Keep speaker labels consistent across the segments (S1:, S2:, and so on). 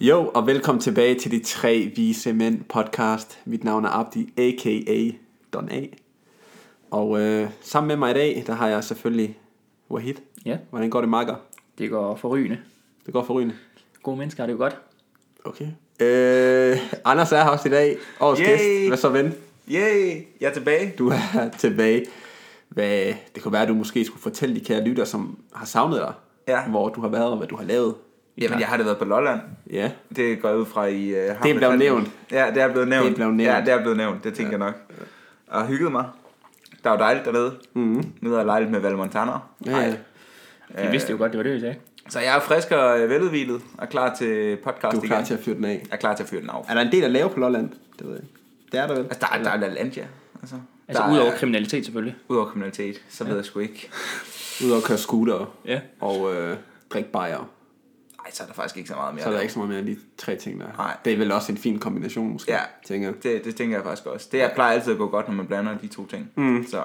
S1: Jo, og velkommen tilbage til de tre vise mænd podcast. Mit navn er Abdi, a.k.a. Don A. Og øh, sammen med mig i dag, der har jeg selvfølgelig Wahid.
S2: Ja,
S1: Hvordan går det, Marker?
S2: det går forrygende.
S1: Det går forrygende.
S2: Gode mennesker har det jo godt.
S1: Okay. Øh, Anders er her også i dag. Årets
S3: Yay!
S1: gæst. Hvad så, ven?
S3: Yay, jeg er tilbage.
S1: Du er tilbage. Hvad, det kunne være, at du måske skulle fortælle de kære lytter, som har savnet dig.
S3: Ja.
S1: Hvor du har været og hvad du har lavet.
S3: Jamen, jeg har da været på Lolland.
S1: Ja.
S3: Det går jeg ud fra i... Uh, det
S1: blevet nævnt.
S3: Ja, det er blevet nævnt.
S1: Det er blevet nævnt.
S3: Ja, det er blevet nævnt. Det tænker ja. jeg nok. Og hygget mig. Der er jo dejligt dernede. Mm-hmm. Nu er jeg lejligt med Valmontaner.
S1: Mhm. Ja, ja.
S2: Vi vidste jo godt, det var det, vi sagde.
S3: Så jeg er frisk og øh, veludvilet og klar til podcast
S1: Du er klar
S3: igen.
S1: til at fyre den af.
S3: Jeg er klar til at fyre den af.
S1: Er der en del at lave på Lolland? Det ved jeg ikke. Det er der vel.
S3: Altså, der er, der er LaLandia. Altså,
S2: Altså
S3: der
S2: udover
S3: er,
S2: kriminalitet selvfølgelig.
S3: udover kriminalitet, så ved jeg sgu ikke.
S1: Udover at køre scooter
S2: Ja.
S1: og øh, drikke bajer.
S3: Nej, så er der faktisk ikke så meget mere.
S1: Så er der ikke så meget mere end de tre ting der. er.
S3: Nej.
S1: Det er vel også en fin kombination måske,
S3: Ja.
S1: tænker jeg.
S3: Det, det tænker jeg faktisk også. Det jeg plejer altid at gå godt, når man blander de to ting.
S1: Mhm.
S3: Mm. Så...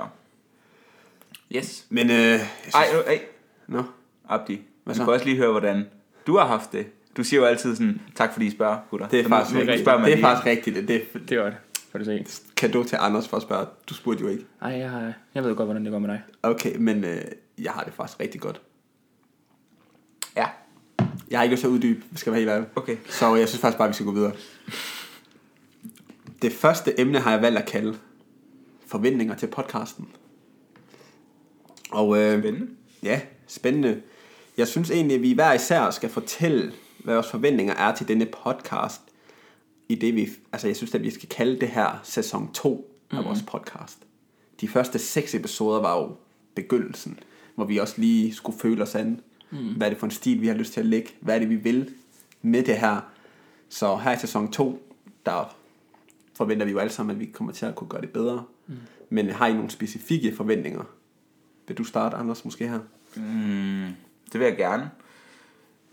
S3: Yes.
S1: Men øh, jeg synes,
S3: Ej, nu, ej.
S1: Nå.
S3: Abdi,
S1: Hvad
S3: Hvad
S1: så?
S3: så? vi kan også lige høre, hvordan du har haft det. Du siger jo altid sådan, tak fordi I spørger, gutter.
S1: Det er
S3: Så
S1: faktisk
S3: nu, nu
S1: rigtigt.
S3: spørger man
S1: Det er
S3: lige.
S1: faktisk rigtigt. Det er
S2: Det var det. Får du se.
S1: kado til Anders for at spørge. Du spurgte jo ikke.
S2: Ej, jeg, har, jeg ved jo godt, hvordan det går med dig.
S1: Okay, men øh, jeg har det faktisk rigtig godt.
S3: Ja,
S1: Jeg har ikke lyst til at uddybe, hvis jeg skal være helt ærlig.
S3: okay.
S1: Så jeg synes faktisk bare, vi skal gå videre. Det første emne har jeg valgt at kalde forventninger til podcasten. Og øh,
S3: Spændende.
S1: Ja, spændende. Jeg synes egentlig, at vi hver især skal fortælle, hvad vores forventninger er til denne podcast. I det vi, altså jeg synes, at vi skal kalde det her sæson 2 af mm-hmm. vores podcast. De første seks episoder var jo begyndelsen, hvor vi også lige skulle føle os an. Mm. Hvad er det for en stil, vi har lyst til at lægge? Hvad er det, vi vil med det her? Så her i sæson 2, der forventer vi jo alle sammen, at vi kommer til at kunne gøre det bedre. Mm. Men har I nogle specifikke forventninger? Vil du starte, Anders, måske her?
S3: Mm, det vil jeg gerne.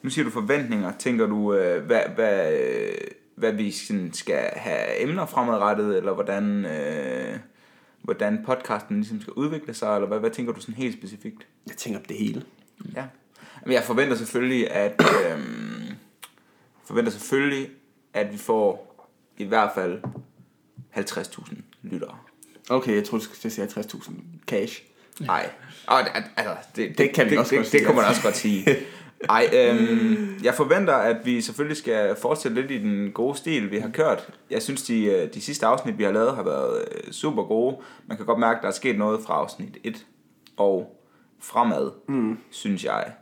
S3: Nu siger du forventninger. Tænker du, øh, hvad, hvad, øh, hvad vi sådan skal have emner fremadrettet, eller hvordan, øh, hvordan podcasten ligesom skal udvikle sig, eller hvad, hvad tænker du sådan helt specifikt?
S1: Jeg tænker på det hele.
S3: Ja. Men jeg forventer selvfølgelig, at øhm, forventer selvfølgelig, at vi får i hvert fald 50.000 lyttere.
S1: Okay, jeg tror, du skal sige 50.000 cash.
S3: Nej. Og, al- altså, det, det,
S1: Det kan vi
S3: det,
S1: også
S3: det,
S1: godt
S3: det,
S1: sige,
S3: kunne man
S1: altså.
S3: også godt sige. Ej, øhm, jeg forventer, at vi selvfølgelig skal fortsætte lidt i den gode stil, vi har
S1: Mm.
S3: kørt. Jeg synes, de, øh, de sidste afsnit, vi har lavet, har været øh, super gode. Man kan godt mærke, at der er sket noget fra afsnit 1 og fremad, mm. synes jeg.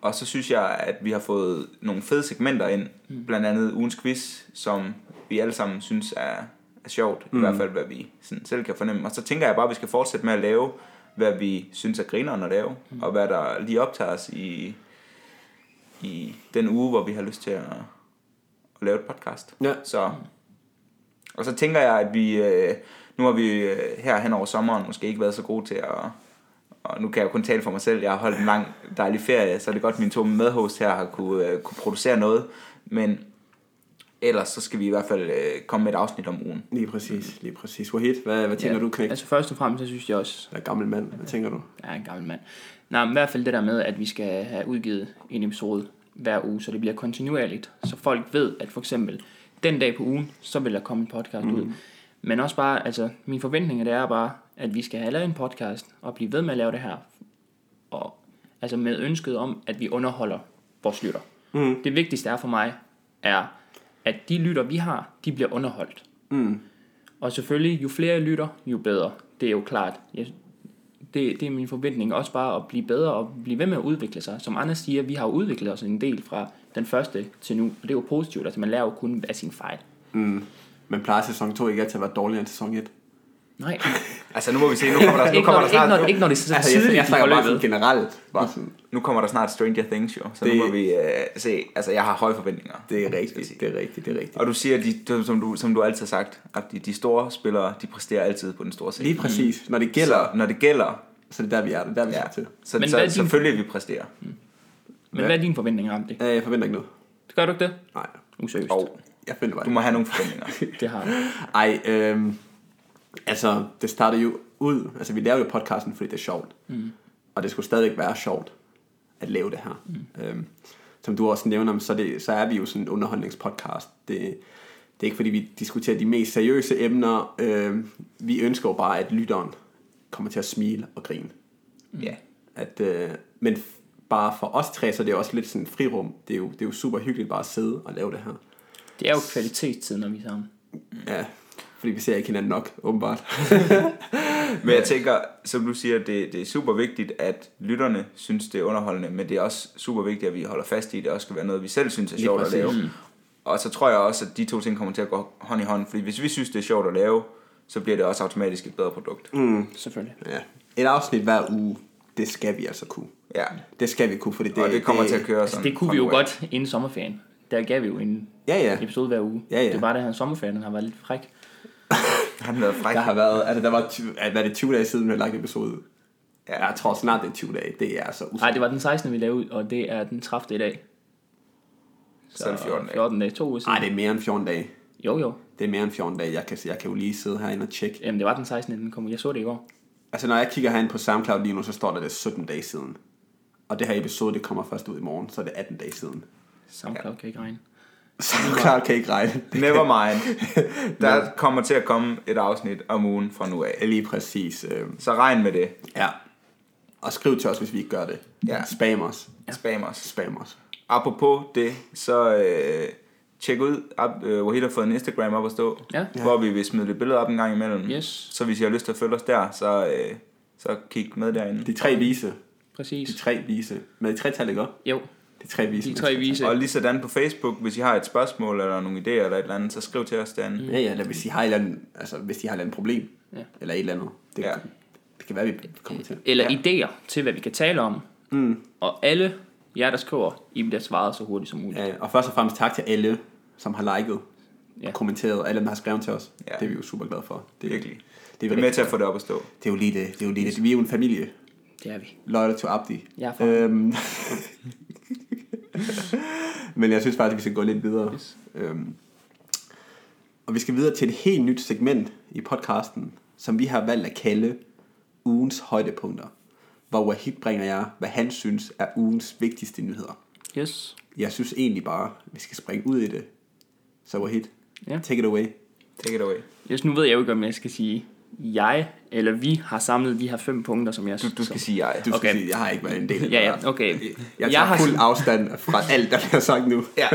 S3: Og så synes jeg, at vi har fået nogle fede segmenter ind. Blandt andet ugens quiz, som vi alle sammen synes er, er sjovt. Mm. I hvert fald, hvad vi sådan selv kan fornemme. Og så tænker jeg bare, at vi skal fortsætte med at lave, hvad vi synes er grineren at lave. Mm. Og hvad der lige optager os i, i den uge, hvor vi har lyst til at, at lave et podcast.
S1: Ja.
S3: Så, og så tænker jeg, at vi... øh, Nu har vi øh, her hen over sommeren måske ikke været så gode til at og nu kan jeg jo kun tale for mig selv, jeg har holdt en lang dejlig ferie, så er det godt, at mine to medhost her har kunne, øh, kunne producere noget, men ellers så skal vi i hvert fald øh, komme med et afsnit om ugen.
S1: Lige præcis, lige præcis. Wahid, hvad, hvad tænker
S2: ja.
S1: du, knægt?
S2: Altså først og fremmest, så synes jeg også,
S1: Eller gammel mand, hvad tænker du?
S2: jeg er en gammel mand. Nej, men i hvert fald det der med, at vi skal have udgivet en episode hver uge, så det bliver kontinuerligt. Så folk ved, at for eksempel den dag på ugen, så vil der komme en podcast mm. ud. Men også bare, altså mine forventninger, det er bare, at vi skal have lavet en podcast og blive ved med at lave det her. Og, altså med ønsket om, at vi underholder vores lytter. Mm. Det vigtigste er for mig, er, at de lytter, vi har, de bliver underholdt. Mm. Og selvfølgelig, jo flere jeg lytter, jo bedre. Det er jo klart. Jeg, det, det er min forventning også bare at blive bedre og blive ved med at udvikle sig. Som Anders siger, vi har jo udviklet os en del fra den første til nu, og det er jo positivt. Altså man lærer jo kun af sine fejl.
S1: Man plejer sæson 2 ikke altid at være dårligere end sæson 1.
S2: Nej,
S3: Altså nu må vi se, nu kommer der, nu
S2: ikke når,
S3: kommer der
S2: ikke, når,
S3: snart,
S2: ikke
S3: nu,
S2: når det er så
S1: Altså,
S2: tidligt
S1: jeg, jeg
S2: i
S1: snakker bare sådan
S2: forløbet.
S1: generelt. Bare sådan,
S3: nu kommer der snart Stranger Things jo, så
S1: Det-
S3: nu må vi øh, se, altså jeg har høje forventninger.
S1: det er
S3: skal jeg sige.
S1: rigtigt, det er rigtigt, det er rigtigt.
S3: Og du siger, de, du- som, du, som du altid har sagt, at de, de store spillere, de præsterer altid på den store scene.
S1: Lige præcis, Mm. når det
S3: Så
S1: gælder,
S3: når det gælder,
S1: så det er der, vi er, det er der, vi
S3: ja,
S1: skal til.
S3: så,
S2: Men
S3: så
S2: hvad er
S3: din...
S2: din-
S3: selvfølgelig vi præsterer.
S2: Men hvad er dine forventninger om det?
S1: Øh, Jeg forventer ikke noget.
S2: Gør du ikke det?
S1: Nej,
S2: Useriøst.
S3: Og
S1: jeg finder bare
S3: du må have nogle forventninger.
S2: Det har du.
S1: Ej, øhm, altså, det startede jo ud, altså vi lavede jo podcasten, fordi det er sjovt. Mm. Og det skulle stadigvæk være sjovt at lave det her. Mm. Øhm, som du også nævner, så, er det, så er vi jo sådan en underholdningspodcast. Det, det er ikke, fordi vi diskuterer de mest seriøse emner. Øh, vi ønsker jo bare, at lytteren kommer til at smile og grine.
S3: Ja.
S1: At, øh, men f- bare for os tre, så er det jo også lidt sådan et frirum. Det er, jo, det er jo super hyggeligt bare at sidde og lave det her.
S2: Det er jo kvalitetstid, når vi er sammen.
S1: Ja, fordi vi ser ikke hinanden nok, åbenbart.
S3: Men jeg tænker, som du siger, det, det er super vigtigt, at lytterne synes, det er underholdende, men det er også super vigtigt, at vi holder fast i, at det også skal være noget, vi selv synes er
S1: Lige
S3: sjovt at
S1: præcis.
S3: lave. Og så tror jeg også, at de to ting kommer til at gå hånd i hånd, fordi hvis vi synes, det er sjovt at lave, så bliver det også automatisk et bedre produkt. Mm.
S2: Selvfølgelig.
S1: ja. Et afsnit hver uge, det skal vi altså kunne.
S3: Ja,
S1: Det skal vi kunne, fordi det,
S3: og det kommer til at køre
S2: Altså,
S3: sådan.
S2: det kunne
S3: fra
S2: vi jo
S3: nu af.
S2: godt inden sommerferien. Der gav vi jo en
S1: Ja, ja.
S2: episode hver uge.
S1: Ja, ja.
S2: Det er bare, at han sommerferien den har været lidt fræk.
S3: Han har været fræk.
S1: Der har været, altså der var, 20, hvad er det 20 dage siden, vi har lagt episode ud?
S3: Ja.
S1: Ja. Jeg tror snart, det er 20 dage. Det er altså
S2: Nej,
S1: usædvanligt.
S2: det var den 16. vi lavede ud, og det er den 30. i dag.
S3: Så er det 14 dage.
S2: 14 dage, to uger siden.
S1: Nej, det er mere end 14 dage.
S2: Jo, jo.
S1: Det er mere end 14 dage. Jeg kan, jeg kan jo lige sidde herinde og tjekke.
S2: Jamen, det var den 16. den kom ud. Jeg så det i går.
S1: Altså, når jeg kigger herinde på SoundCloud lige nu, så står der, det er 17 dage siden. Og det her episode, det kommer først ud i morgen, så er det 18 dage siden.
S2: SoundCloud kan ikke regne.
S1: SoundCloud kan ikke regne.
S3: Never mind. Der kommer til at komme et afsnit om ugen fra nu af.
S1: Lige præcis. Øh,
S3: Så regn med det.
S1: ja. Og skriv til os, hvis vi ikke gør det.
S3: Ja.
S1: Spam os.
S3: Spam os.
S1: Spam os.
S3: Apropos det, så øh, tjek ud, op, øh, Wahid har fået en Instagram op at stå,
S2: Ja.
S3: hvor vi vil smide lidt billeder op en gang imellem.
S2: Yes.
S3: Så hvis I har lyst til at følge os der, så, øh, så kig med derinde.
S1: De tre vise.
S2: Præcis.
S1: De tre vise. Med de tre tal, ikke også?
S2: Jo,
S1: De tre vise.
S2: de tre vise.
S3: Og lige sådan på Facebook, hvis I har et spørgsmål eller nogle idéer eller et eller andet, så skriv til os derinde.
S1: Ja, ja, eller hvis de har et eller andet, altså, hvis de har et eller andet problem,
S2: Ja.
S1: eller et eller andet. Det,
S3: Ja.
S1: ja. det kan være, vi kommer til.
S2: Eller ja. idéer til, hvad vi kan tale om. Mm. Og alle jer, der skriver, I bliver svaret så hurtigt som muligt.
S1: Ja, og først og fremmest tak til alle, som har liket
S2: Ja.
S1: ja. og kommenteret, alle dem, der har skrevet til os.
S3: Ja.
S1: Ja. Det er vi jo super glade for. Det,
S3: Virkelig.
S1: Det
S3: Det
S1: er,
S3: er
S1: vi
S3: med
S1: rigtig,
S3: til at få det op at stå.
S1: det er jo lige det. det, er jo lige det. Vi er jo en familie.
S2: Det er vi.
S1: Loyal to Abdi.
S2: Jeg er fra-
S1: øhm, Men jeg synes faktisk, at vi skal gå lidt videre.
S2: Yes.
S1: Øhm, og vi skal videre til et helt nyt segment i podcasten, som vi har valgt at kalde ugens højdepunkter, hvor Wahid bringer jer, hvad han synes er ugens vigtigste nyheder.
S2: Yes.
S1: Jeg synes egentlig bare, at vi skal springe ud i det. Så Wahid,
S2: Ja.
S1: take it away.
S3: Take it away.
S2: yes. Nu ved jeg jo ikke, om jeg skal sige jeg, eller vi har samlet de her fem punkter, som jeg...
S3: Du, du skal sige jeg.
S1: Du skal
S2: Okay.
S1: okay. sige, jeg har ikke været en del af det
S2: Ja,
S1: her.
S2: ja, okay.
S1: Jeg tager
S2: har
S1: fuld afstand fra alt, der bliver sagt nu.
S3: Ja.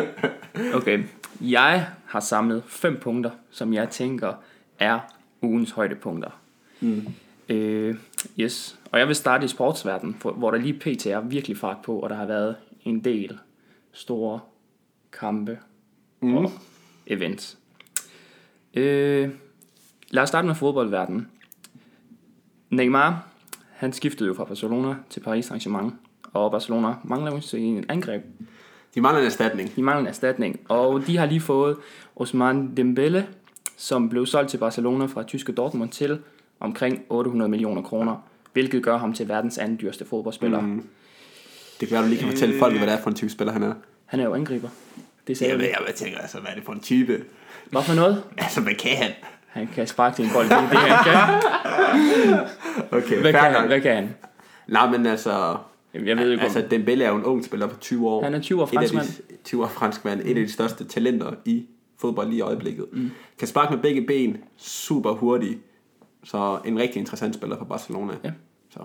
S2: Okay, jeg har samlet fem punkter, som jeg tænker er ugens højdepunkter. Mm. Øh, yes, og jeg vil starte i sportsverdenen, for- hvor der lige pt. er virkelig fart på, og der har været en del store kampe mm. og events. Øh, lad os starte med fodboldverdenen. Neymar, han skiftede jo fra Barcelona til Paris Saint-Germain, og Barcelona mangler jo sin angreb
S1: De mangler en erstatning.
S2: de mangler en erstatning. Og de har lige fået Osman Dembele, som blev solgt til Barcelona fra tyske Dortmund til omkring 800 millioner kroner, hvilket gør ham til verdens anden dyreste fodboldspiller. Mm.
S1: Det kan være, du lige kan fortælle folk, hvad det er for en type spiller, han er.
S2: Han er jo angriber. Det sagde
S1: Jeg,
S2: jeg.
S1: ved, jeg tænker, altså, hvad er det for en type?
S2: Hvad for noget?
S1: Altså, hvad kan han?
S2: Han kan sparke til en bold. Det er det, han kan.
S1: Okay,
S2: Hvad
S1: fair
S2: kan
S1: nok.
S2: han? Hvad kan han?
S1: Nej, men altså...
S2: Jamen, Jeg ved ikke, om...
S1: altså, Dembele er jo en ung spiller på 20 år.
S2: Han er 20 år
S1: Et af de- 20 år franskmand. Et af de største talenter i fodbold lige i øjeblikket. Mm. Kan sparke med begge ben. Super hurtig. Så en rigtig interessant spiller for Barcelona.
S2: Ja.
S1: Så,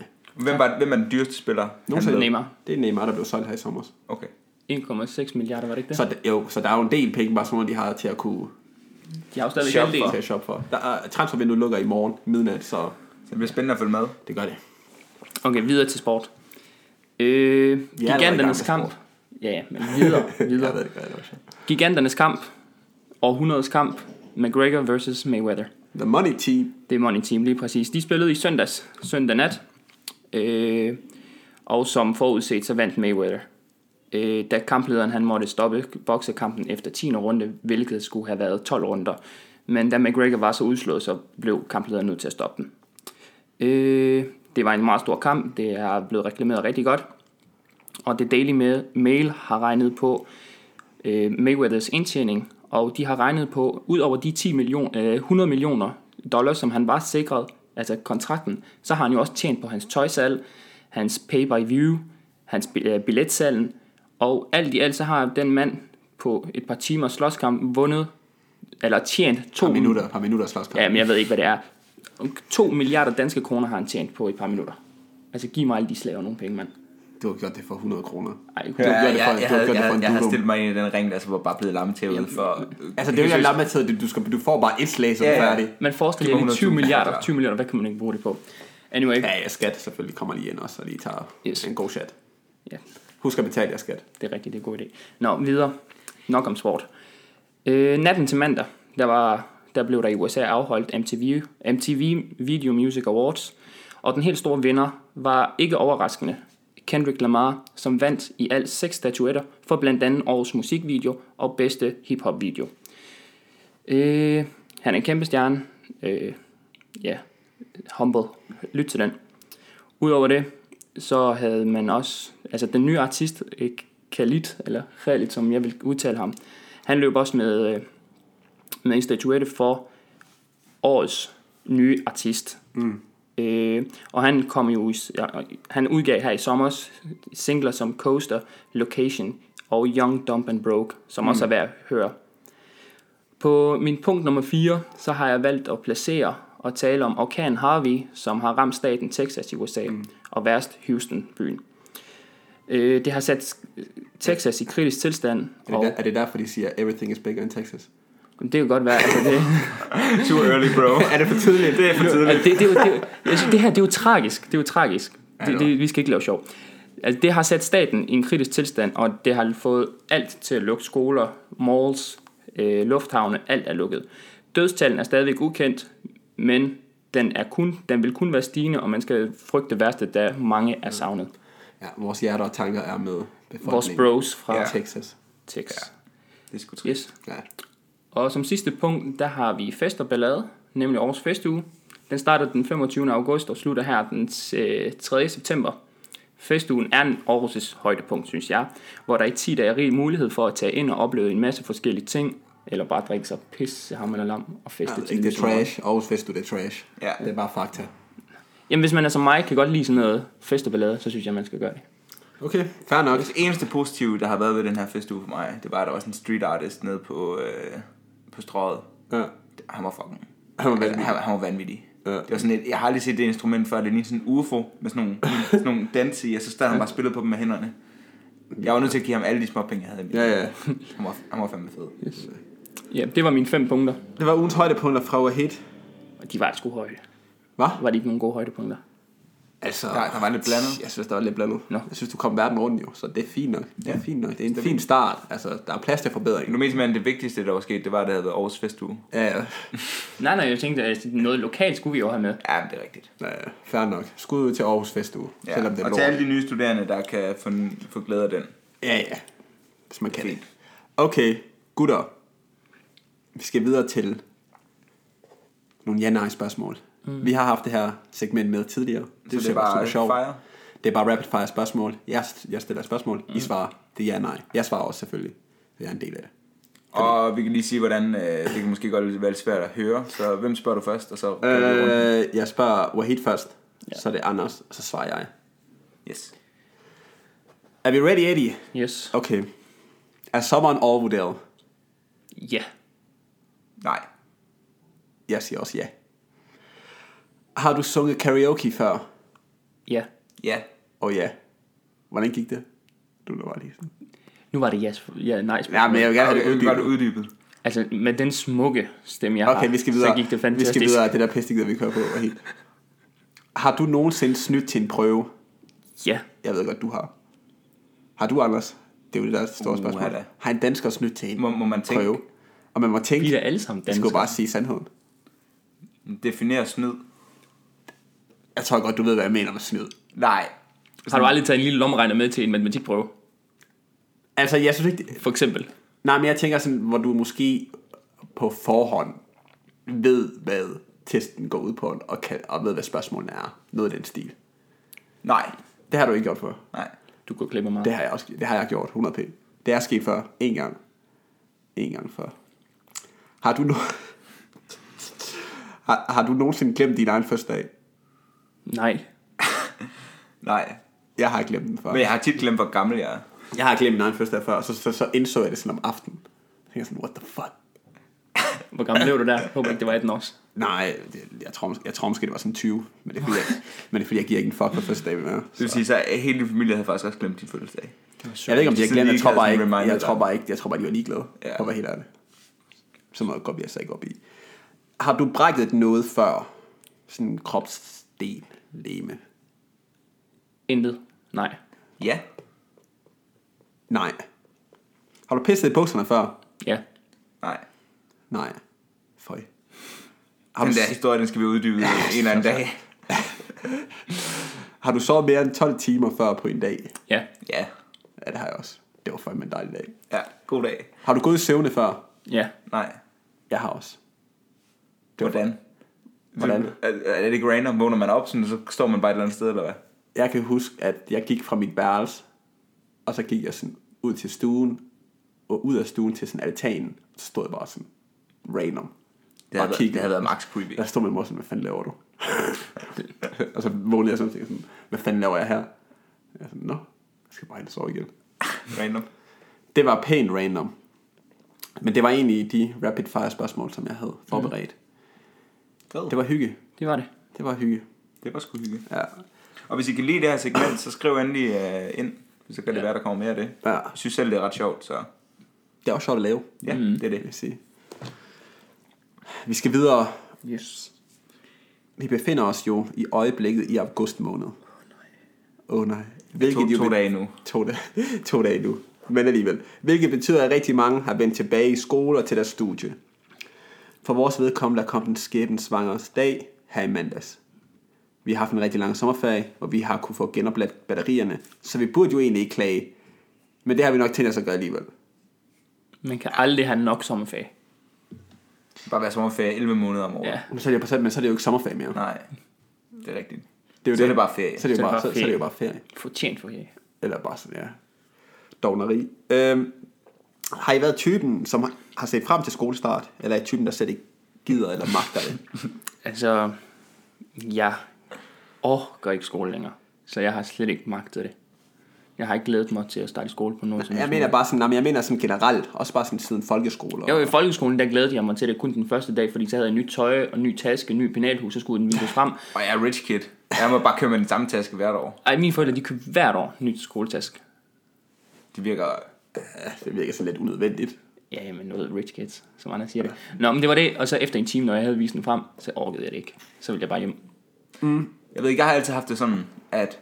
S1: ja.
S3: Hvem, var, hvem er den dyreste spiller?
S1: Nogensinde-
S2: Neymar.
S1: Det er Neymar, der blev solgt her i sommer.
S3: Okay.
S2: 1,6 milliarder, var det ikke det?
S1: Så, d- jo, så der er jo en del penge, Barcelona de har til at kunne
S2: de har jo stadigvæk
S3: Shop
S2: halvdelen.
S1: til at shoppe for. Der er, transfervinduet lukker i morgen midnat, så
S3: Så det bliver spændende at følge med.
S1: det gør det.
S2: Okay, videre til sport. Øh,
S1: gang med
S2: giganternes
S1: sport.
S2: kamp. Ja, ja, men videre, videre.
S1: Jeg ved det, gør det også.
S2: Giganternes kamp. Århundredets kamp. McGregor versus Mayweather.
S1: The Money Team.
S2: Det er Money Team lige præcis. De spillede i søndags, søndag nat. Øh, og som forudset, så vandt Mayweather. Øh, da kamplederen han måtte stoppe boksekampen efter 10. runde, hvilket skulle have været 12 runder. Men da McGregor var så udslået, så blev kamplederen nødt til at stoppe den. Øh, det var en meget stor kamp. Det er blevet reklameret rigtig godt. Og The Daily Ma- Mail har regnet på øh, Mayweathers indtjening, og de har regnet på, ud over de 10 million, øh, 100 millioner dollars, som han var sikret, altså kontrakten, så har han jo også tjent på hans tøjsalg, hans pay-by-view, hans bi- øh, billetsalg, Og alt i alt, så har den mand på et par timer slåskamp vundet, eller tjent to...
S1: Par minutter, par minutter slåskamp.
S2: Jamen, jeg ved ikke, hvad det er. 2 milliarder danske kroner har han tjent på et par minutter. Altså, giv mig alle de slaver nogle penge, mand.
S1: Du har gjort det for 100 kroner.
S2: Ej,
S1: Du har gjort det for,
S3: jeg, jeg,
S1: du har gjort
S3: havde,
S1: det for
S3: jeg,
S1: en
S3: jeg havde
S1: durum.
S3: stillet mig ind i den ring, der så var bare blevet lammet til ud for...
S1: Altså, det er jo ikke lammetid, du, du, skal, du får bare et slag, så er
S3: Ja,
S1: du
S3: ja.
S1: færdig.
S2: Men forestil jer, det er
S3: 100.000
S2: 20 milliarder.
S3: dollar.
S2: 20 milliarder, hvad kan man ikke bruge det på? Anyway,
S1: Ja, ja, skat selvfølgelig kommer lige ind også, og lige tager
S2: Yes.
S1: yes. en god chat.
S2: ja,
S1: Husk at betale jer skat.
S2: det er rigtigt, det er en god idé. Nå, videre. Nok om sport. Øh, natten til mandag, der, var, der blev der i USA afholdt MTV, MTV Video Music Awards, og den helt store vinder var ikke overraskende Kendrick Lamar, som vandt i alt seks statuetter for blandt andet årets musikvideo og bedste hiphop-video. Øh, han er en kæmpe stjerne. Øh, ja, humble. Lyt til den. Udover det, så havde man også, altså den nye artist, øh, Khalid, eller Khalid, som jeg vil udtale ham, han løb også med, øh, med en statuette for årets nye artist. Mm. Øh, og han kom jo, i- ja, han udgav her i sommer singler som Coaster, Location og Young, Dump and Broke, som mm. også er værd at høre. På min punkt nummer 4, så har jeg valgt at placere og tale om orkanen Harvey, som har ramt staten Texas i USA, mm. og værst Houston-byen. Øh, det har sat øh, Texas i kritisk tilstand,
S1: Er
S2: og
S1: det, der, er det derfor, de siger, everything is bigger in Texas?
S2: det kan godt være, altså det,
S3: Too early, bro.
S1: er det for tidligt?
S3: det er for tidligt.
S2: Altså, det, det, er jo- det, er jo- altså, det her, det er jo tragisk. Det er jo tragisk. Det, det, vi skal ikke lave sjov. Altså, det har sat staten i en kritisk tilstand, og det har fået alt til at lukke skoler, malls, øh, lufthavne, alt er lukket. Dødstallen er stadigvæk ukendt, men den, er kun, den vil kun være stigende, og man skal frygte det værste, da mange er savnet.
S1: Ja, vores hjerter og tanker er med
S2: Vores
S1: befolkningen.
S2: bros fra
S1: Ja.
S2: ja.
S1: Texas.
S2: Texas.
S3: Det er sgu trist.
S2: Yes.
S1: Ja.
S2: Og som sidste punkt, der har vi fest og ballade, nemlig årets festuge. Den starter den 25. august og slutter her den øh, 3. september. Festugen er en Aarhus' højdepunkt, synes jeg, hvor der i 10 dage er rig mulighed for at tage ind og opleve en masse forskellige ting, eller bare drikke sig pisse, ham eller lam og feste
S1: Det,
S2: til
S1: ikke det er
S2: lyserødt.
S1: trash. Aarhus Fest, du det er trash.
S3: Ja.
S1: Det er bare fakta.
S2: Jamen, hvis man er som mig, kan godt lide sådan noget fest og ballade, så synes jeg, man skal gøre det.
S1: Okay, fair nok.
S3: Det eneste positive, der har været ved den her festuge for mig, det var, at der var sådan en street artist nede på, øh, på strøget.
S1: Ja.
S3: Han var fucking...
S1: Han var vanvittig.
S3: Han, han var vanvittig.
S1: Ja.
S3: Det var sådan et, jeg har aldrig set det instrument før, det lignede sådan en UFO med sådan nogle, sådan nogle dans i, og så stod han bare og spillede på dem med hænderne. Jeg var nødt til at give ham alle de små penge, jeg havde i min.
S1: Ja, ja.
S3: Han, var, han var fandme fed.
S2: Ja, det var mine fem punkter,
S1: Det var ugens højdepunkter fra Overhead.
S2: og de var sgu høje.
S1: Hva?
S2: Var det ikke nogle gode højdepunkter?
S1: Altså,
S3: Der- der var lidt blandet.
S1: Jeg synes, der var lidt blandet.
S2: Nå.
S1: Jeg synes, du kom verden rundt jo, så det er fint nok. Det er fint nok. Det er en fin start. Altså, der er plads til forbedring.
S3: Nu mest men det vigtigste, der var sket, det var, at det havde været årets festuge.
S1: Ja, ja.
S2: Nej, nej, jeg tænkte, at noget lokalt skulle vi jo have med.
S3: Ja, men det er rigtigt.
S1: Ja, ja. fair nok. Skud ud til Aarhus Festuge, ja. selvom det er
S3: og
S1: lort.
S3: til alle de nye studerende, der kan få, få glæde af den.
S1: Ja, ja. Hvis man kan
S3: Fint.
S1: det. Okay, gutter. Vi skal videre til nogle ja-nej-spørgsmål. Mm. Vi har haft det her segment med tidligere. Det synes
S3: det er
S1: jeg var
S3: bare
S1: super sjovt.
S3: fire?
S1: Det er bare rapid fire spørgsmål. Jeg, jeg stiller et spørgsmål. Mm. I svarer. Det er ja-nej. Jeg svarer også selvfølgelig. Det er en del af det.
S3: Og vi kan lige sige, hvordan øh, det kan måske godt være lidt svært at høre. Så hvem spørger du først? Og så går vi rundt.
S1: Øh, jeg spørger Wahid først. Ja. Så er det Anders, og så svarer jeg.
S3: Yes.
S1: Er vi ready, Eddie?
S2: Yes.
S1: Okay. Er sommeren overvurderet?
S2: Ja. Yeah.
S3: Nej.
S1: Jeg siger også ja. Har du sunget karaoke før?
S2: Ja. Yeah.
S3: Ja.
S1: Og ja. Hvordan gik det? Du var bare lige sådan.
S2: Nu var det yes, ja, nej.
S1: Ja, men jeg vil gerne
S3: Var
S1: have det
S3: du, var du
S1: uddybet.
S3: uddybet?
S2: Altså, med den smukke stemme, jeg har,
S1: Okay, vi skal videre.
S2: så gik det
S1: vi
S2: fantastisk.
S1: skal videre. Det der pisse, vi kører på. Var helt. Har du nogensinde snydt til en prøve?
S2: Ja,
S1: Jeg ved godt, du har. Har du, Anders? Det er jo det, der er det store
S3: Uh,
S1: spørgsmål.
S3: er det?
S1: Har en dansker snydt til en
S3: Må- må man tænke?
S1: prøve? Og man må tænke,
S2: vi er alle sammen
S1: det
S2: danskere.
S1: skulle jo bare sige sandheden.
S3: Definere snyd.
S1: Jeg tror godt, du ved, hvad jeg mener med snyd.
S3: Nej.
S2: Har du aldrig taget en lille lommeregner med til en matematikprøve,
S1: Altså, jeg synes ikke... det-
S2: for eksempel?
S1: Nej, men jeg tænker sådan, hvor du måske på forhånd ved, hvad testen går ud på, og, kan, og ved, hvad spørgsmålene er. Noget af den stil.
S3: Nej.
S1: Det har du ikke gjort før.
S3: Nej.
S2: Du går glip af meget.
S1: Det har jeg, også, det har jeg gjort, 100 p. Det er sket før. En gang. En gang før. Har du, no... har, har du nogensinde glemt din egen første dag?
S2: Nej.
S3: Nej.
S1: Jeg har glemt den før.
S3: Men jeg har tit glemt, hvor gammel jeg er.
S1: Jeg har glemt min egen fødselsdag før, og så, så, så indså jeg det sådan om aftenen. Jeg tænkte sådan, what the fuck?
S2: Hvor gammel blev du der? Håber ikke, det var 18 års.
S1: Nej, det, jeg, tror, måske- jeg tror måske, det var sådan 20, men det er fordi, jeg, men det er, fordi jeg giver ikke en fuck for fødselsdag mere.
S3: Det vil sige, så hele din familie havde faktisk også glemt din fødselsdag.
S1: Jeg ved ikke, om de har
S3: Så
S1: glemt, jeg
S3: ligeglade,
S1: tror bare
S3: sådan
S1: ikke,
S3: reminder
S1: jeg tror
S3: dig.
S1: bare ikke, jeg tror bare, de var ligeglade,
S3: Ja.
S1: ja. for at være helt ærlig. Så meget går jeg så ikke op i. Har du brækket noget før? Sådan en kropsdel, leme?
S2: Intet. Nej.
S3: Ja.
S1: Nej. Har du pisset i bukserne før?
S2: Ja.
S3: Nej.
S1: Nej. Føj. Har du,
S3: Den der historie, den skal vi uddybe en eller anden dag.
S1: har du sovet mere end 12 timer før på en dag?
S2: Ja.
S3: Ja.
S1: Ja, det har jeg også. Det var fandme en dejlig dag.
S3: Ja, god dag.
S1: Har du gået i søvne før?
S2: Ja.
S3: Nej.
S1: Jeg har også.
S3: Hvordan?
S1: Hvordan?
S3: Er, er det ikke random? Vågner man op, sådan, så står man bare et eller andet sted, eller hvad?
S1: Jeg kan huske, at jeg gik fra mit værelse, og så gik jeg sådan ud til stuen, og ud af stuen til sådan altanen, og så stod jeg bare sådan random.
S3: Det havde,
S1: og
S3: været, det havde været max creepy.
S1: Der stod min mor sådan, hvad fanden laver du? og så vågnede jeg sådan, og tænkte sådan, hvad fanden laver jeg her? Jeg er sådan, nå, jeg skal bare ind og sove igen.
S3: Random.
S1: Det var pænt random. Men det var egentlig de rapid fire spørgsmål, som jeg havde forberedt.
S3: Fed.
S1: Det var hygge.
S2: Det var det.
S1: Det var hygge.
S3: Det var sgu hyggeligt.
S1: Ja.
S3: Og hvis I kan lide det her segment, så skriv endelig uh, ind. Så kan det være, der kommer mere af det.
S1: ja.
S3: Jeg synes selv, det er ret sjovt, så
S1: Det er også sjovt at lave,
S3: ja, mm. det er
S1: vil
S3: det.
S1: jeg sige. Vi skal videre.
S2: Yes.
S1: Vi befinder os jo i øjeblikket i august måned. Åh oh, nej. Hvilket
S3: To,
S1: jo
S3: to
S1: bet-
S3: dage nu.
S1: To, dage, to dage nu, men alligevel. Hvilket betyder, at rigtig mange har vendt tilbage i skole og til deres studie. For vores vedkommende er kommet en skæbensvangers dag her i mandags. Vi har haft en rigtig lang sommerferie, hvor vi har kunne få genopladt batterierne, så vi burde jo egentlig ikke klage. Men det har vi nok tænkt os at gøre alligevel.
S2: Man kan aldrig have nok sommerferie.
S3: Bare være sommerferie 11 måneder om året.
S2: Ja.
S1: Men så er det, jo- men så er det jo ikke sommerferie mere.
S3: Nej, det er rigtigt.
S1: Det er jo
S3: så er det bare ferie.
S1: Så er det jo bare, så,
S2: ferie.
S1: så er det jo bare ferie.
S2: Fortjent ferie.
S1: Eller bare sådan, ja. Dogneri. Øhm, har I været typen, som har- har set frem til skolestart? Eller er I typen, der slet ikke gider eller magter det?
S2: Altså, jeg orker ikke skole længere. Så jeg har slet ikke magtet det. Jeg har ikke glædet mig til at starte i skole på noget som
S1: Jeg
S2: helst
S1: mener
S2: måde.
S1: bare sådan, nej, men jeg mener sådan generelt, også bare sådan siden folkeskole.
S2: Jeg
S1: Og,
S2: var i folkeskolen, der glædede jeg mig til det kun den første dag, fordi så havde jeg nyt tøj og ny taske, ny penalhus, så skulle den vises frem.
S3: Og jeg er rich kid. Jeg må bare købe med den samme taske hvert år.
S2: Ej, mine forældre, de købte hvert år nyt skoletask.
S3: Det virker...
S1: ja, Øh, det virker sådan lidt unødvendigt.
S2: Ja, men noget rich kids, som andre siger det. Nå, men det var det, og så efter en time, når jeg havde vist den frem, så orkede jeg det ikke. Så ville jeg bare hjem.
S3: Jeg ved ikke, jeg har altid haft det sådan, at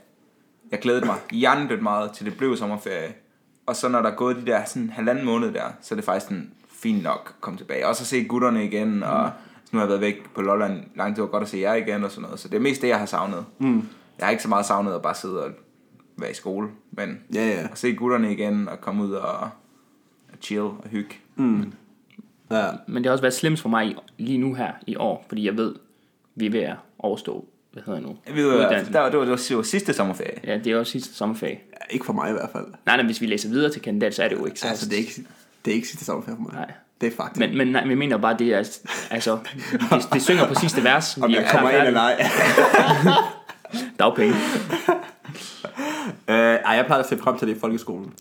S3: jeg glædede mig hjernedødt meget til det blev sommerferie. Og så når der er gået de der sådan halvanden måned der, så er det faktisk sådan fint nok at komme tilbage. Og så se gutterne igen, og nu har jeg været væk på Lolland lang tid, og godt at se jer igen og sådan noget. Så det er mest det, jeg har savnet. Mm. Jeg har ikke så meget savnet at bare sidde og være i skole, men
S1: Ja, ja.
S3: at se gutterne igen og komme ud og, og chill og hygge.
S1: Ja,
S2: Men det har også været slims for mig i, lige nu her i år, fordi jeg ved, vi er ved at overstå, hvad hedder det nu?
S3: Jeg
S1: øh,
S3: ved, at
S1: altså,
S2: Uddannelsen.
S3: der, det, var, det var sidste- sidste sommerferie.
S2: Ja, det er jo sidste sommerfag.
S1: ikke for mig i hvert fald.
S2: Nej, nej, hvis vi læser videre til kandidat, så er det jo ikke så.
S1: Altså, det er ikke, det er ikke sidste sommerferie for mig.
S2: Nej.
S1: Det er faktisk.
S2: Men, men nej, vi mener bare, det er, altså, det, det synger på sidste vers.
S1: om
S2: vi er
S1: jeg kommer
S2: klar
S1: ind eller ej.
S2: færdige. Dagpenge.
S1: Øh, ej, jeg plejede at se frem til det i folkeskolen.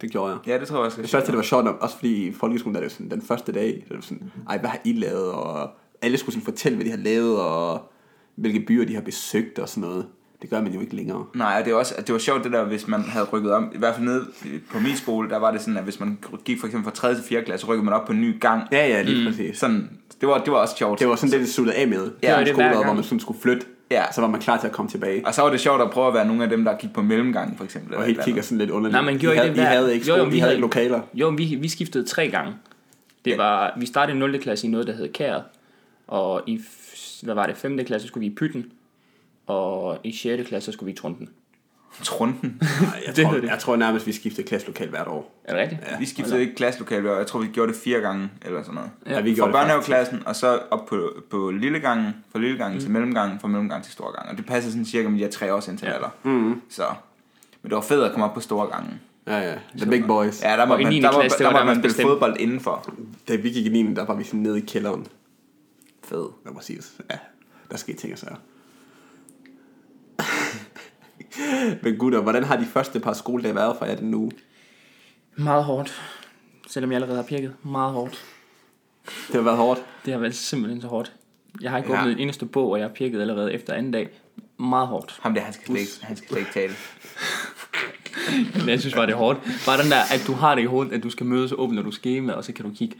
S1: Det gjorde jeg.
S3: Ja, det tror jeg også.
S1: Jeg synes altid, det var sjovt, nok, også fordi i folkeskolen, der er det jo sådan, den første dag, der er det sådan,
S2: Mhm.
S1: ej, hvad har I lavet, og alle skulle sådan fortælle, hvad de har lavet, og hvilke byer de har besøgt og sådan noget. Det gør man jo ikke længere.
S3: Nej, og det, er også, det var sjovt det der, hvis man havde rykket om. I hvert fald nede på min skole, der var det sådan, at hvis man gik for eksempel fra 3. til 4. klasse, så rykkede man op på en ny gang.
S1: Ja, ja, lige mm. præcis. Så
S3: Sådan, det, var, det var også sjovt.
S1: det var sådan det, det sluttede af med.
S3: Ja,
S1: Ja,
S2: det
S1: det
S2: er hver
S1: skoler,
S2: gang.
S1: hvor man sådan skulle flytte,
S3: Ja.
S1: så var man klar til at komme tilbage.
S3: Og så var det sjovt at prøve at være nogle af dem, der gik på mellemgangen, for eksempel.
S1: Og
S3: eller
S1: helt
S3: et
S1: kigger
S3: eller
S1: sådan lidt underligt.
S2: Nej, man gjorde
S1: I havde, I
S2: ikke det hver-
S1: havde ikke
S2: Jo, jo,
S1: skole,
S2: vi
S1: I havde
S2: havde-
S1: ikke lokaler.
S2: Jo, men vi, vi skiftede tre gange. Det var, vi startede i 0. klasse i noget, der hed Kæret. Og i, f- hvad var det, 5. klasse skulle vi i Pytten. Og i 6. klasse så skulle vi i Trunden.
S3: andet. Trunden.
S1: Nej, jeg,
S2: Det
S1: tror,
S2: hedder det.
S1: jeg tror nærmest, vi skiftede klasselokal hvert år.
S2: Er det rigtigt?
S3: Vi skiftede ikke klasselokale, og jeg tror, vi gjorde det fire gange, eller sådan noget.
S1: Ja, vi gjorde
S3: Fra
S1: det faktisk.
S3: børnehaveklassen, og så op på, på lillegangen, fra lillegangen mm. til mellemgangen, fra mellemgangen til storegangen. Og det passer sådan cirka med de her tre års intervaller. Ja. Mm. Så. Men det var fedt at komme op på storegangen.
S1: Ja, ja. The big boys.
S3: Ja, der var
S2: Og i
S3: man,
S2: niende
S3: der var,
S2: klasse, det
S3: der
S2: var
S3: var
S2: der,
S3: man
S2: man
S3: spille
S2: bestemte.
S3: fodbold indenfor.
S1: Da vi gik i 9, der var vi sådan nede i kælderen.
S3: Fed.
S1: Lad mig sige Ja, der skete ting og sager. Men gutter, hvordan har de første par skoledage været for jer den uge?
S2: Meget hårdt. Selvom jeg allerede har pirket. Meget hårdt.
S1: Det har været hårdt.
S2: Det har været simpelthen så hårdt. Jeg har ikke
S3: Ja.
S2: ja. åbnet en eneste bog, og jeg har pirket allerede efter anden dag. Meget hårdt.
S3: Ham der, han skal slet ikke, han skal slet ikke tale.
S2: Men jeg synes bare, det er hårdt. Bare den der, at du har det i hovedet, at du skal mødes, så åbner du skema, og så kan du kigge.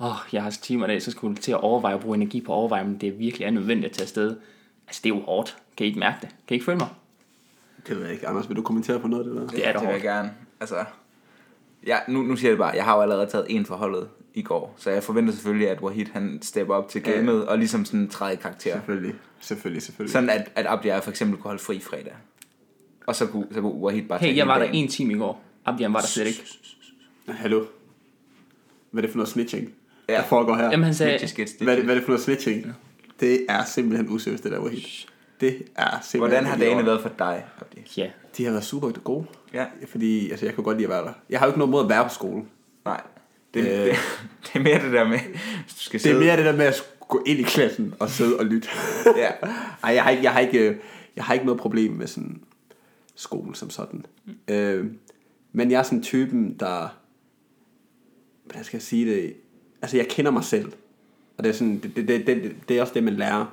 S2: Åh, oh, jeg har timer i dag, så skulle du til at overveje at bruge energi på at overveje, men det er virkelig er nødvendigt at tage afsted. Altså, det er jo hårdt. Kan I ikke mærke det? Kan I ikke følge mig?
S1: Det ved jeg ikke. Anders, vil du kommentere på noget af det der?
S2: Det er da
S3: det vil jeg
S2: hårdt.
S3: gerne. Altså, ja, nu, nu siger jeg det bare, jeg har jo allerede taget en for holdet i går, så jeg forventer selvfølgelig, at Wahid han stepper op til gamet og ligesom sådan træder i karakter.
S1: Selvfølgelig. Selvfølgelig, selvfølgelig.
S3: Sådan at, at Abdiar for eksempel kunne holde fri fredag. Og så kunne, så kunne Wahid bare tage
S2: Hey, jeg
S3: hele
S2: var der
S3: dagen.
S2: en time i går. Abdian var der slet ikke.
S1: Hallo. Hvad er det for noget snitching,
S3: Ja.
S1: ja. der foregår her?
S2: Jamen, han sagde,
S3: Snitches gets
S1: hvad, er det,
S3: stitches.
S1: hvad er det for noget snitching? Ja. Det er simpelthen useriøst, det der var helt. Det er simpelthen...
S3: Hvordan har
S1: ikke i
S3: dagene
S1: orden.
S3: været for dig, Abdi?
S2: ja,
S1: De har været super gode.
S3: Ja.
S1: Fordi altså, jeg kunne godt lide at være der. Jeg har jo ikke noget mod at være på skolen.
S3: Nej. Det,
S1: Øh.
S3: det, det er mere det der med, hvis du skal
S1: Det er
S3: sidde.
S1: mere det der med at skulle gå ind i klassen og sidde og lytte.
S3: Ja.
S1: Ej, jeg har, ikke, jeg, har ikke, øh, jeg har ikke noget problem med sådan skolen som sådan. Øh, men jeg er sådan typen, der... Hvordan skal jeg sige det? Altså, jeg kender mig selv. Og det er, sådan, det, det, det, det, det er også det, man lærer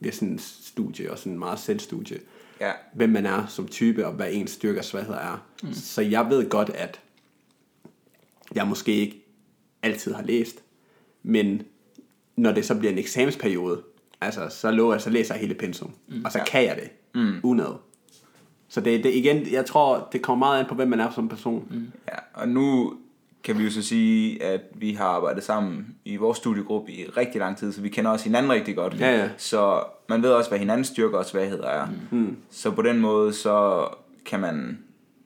S1: ved sådan en studie, og sådan en meget selvstudie.
S3: Ja.
S1: Hvem man er som type, og hvad ens styrker og svagheder er. Mm. Så jeg ved godt, at jeg måske ikke altid har læst, men når det så bliver en eksamensperiode, altså, så, lover jeg, så læser jeg hele pensum, mm. og så kan jeg det, mm. unad. Så det, det igen, jeg tror, det kommer meget an på, hvem man er som person. Mm.
S3: Ja, og nu kan vi jo så sige, at vi har arbejdet sammen i vores studiegruppe i rigtig lang tid, så vi kender også hinanden rigtig godt.
S1: Ja, ja.
S3: Så man ved også, hvad hinandens styrker og svagheder er. Mm. Så på den måde, så kan man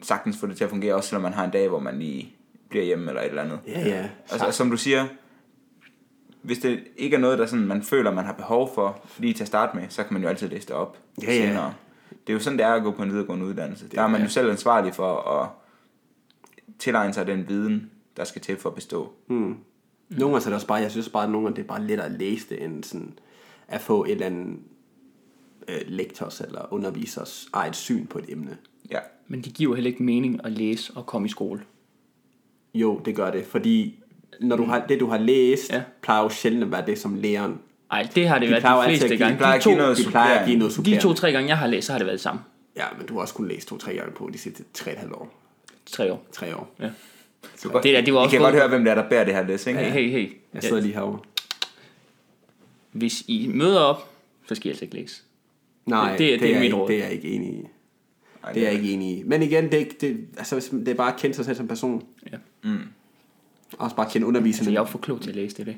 S3: sagtens få det til at fungere, også selvom man har en dag, hvor man lige bliver hjemme eller et eller andet.
S1: Ja, ja.
S3: Altså, og som du siger, hvis det ikke er noget, der sådan, man føler, man har behov for lige til at starte med, så kan man jo altid læse det op
S1: Ja, ja.
S3: Det er jo sådan, det er at gå på en videregående uddannelse. der er man jo selv ansvarlig for at tilegne sig den viden, der skal til for at bestå.
S1: Mm. Nogle gange så er det også bare, jeg synes bare, at nogle gange det er bare lettere at læse det, end sådan at få et eller andet øh, lektors eller undervisers eget syn på et emne.
S3: Ja.
S2: men det giver jo heller ikke mening at læse og komme i skole.
S1: Jo, det gør det, fordi når du har, det, du har læst, ja.
S2: Ja.
S1: plejer jo sjældent at være det, som læreren...
S2: Ej, det har det
S1: De
S2: været
S1: plejer jo
S2: de
S1: altid
S2: fleste
S1: at give, de
S2: gange.
S1: plejer
S2: De
S1: at give
S2: to,
S1: noget, de plejer at give noget
S2: de
S1: supplerende.
S2: to-tre gange, jeg har læst, så har det været det samme.
S1: Ja, men du har også kun læst to-tre gange på de sidste tre et halvt år.
S2: Tre år.
S1: Tre år.
S2: Ja.
S3: Du kan,
S2: Det der, det var
S3: I
S2: også
S3: kan
S2: både-
S3: godt høre, hvem der, der bærer det her læs, ikke?
S2: Hey, hey, hey.
S1: Jeg sidder lige herovre.
S2: Hvis I møder op, så skal I altså ikke læse.
S1: Nej,
S2: Det- det er- det er
S1: jeg
S2: mit
S1: ikke,
S2: råd.
S1: det er jeg ikke enig i.
S3: Ej,
S1: Det er jeg ikke enig i. Men igen, det er, ikke, det, altså, hvis man- det er bare at kende sig selv som person.
S2: Ja.
S1: Også bare at kende
S2: Altså,
S1: underviserne.
S2: jeg er jo for klog til at læse det, det.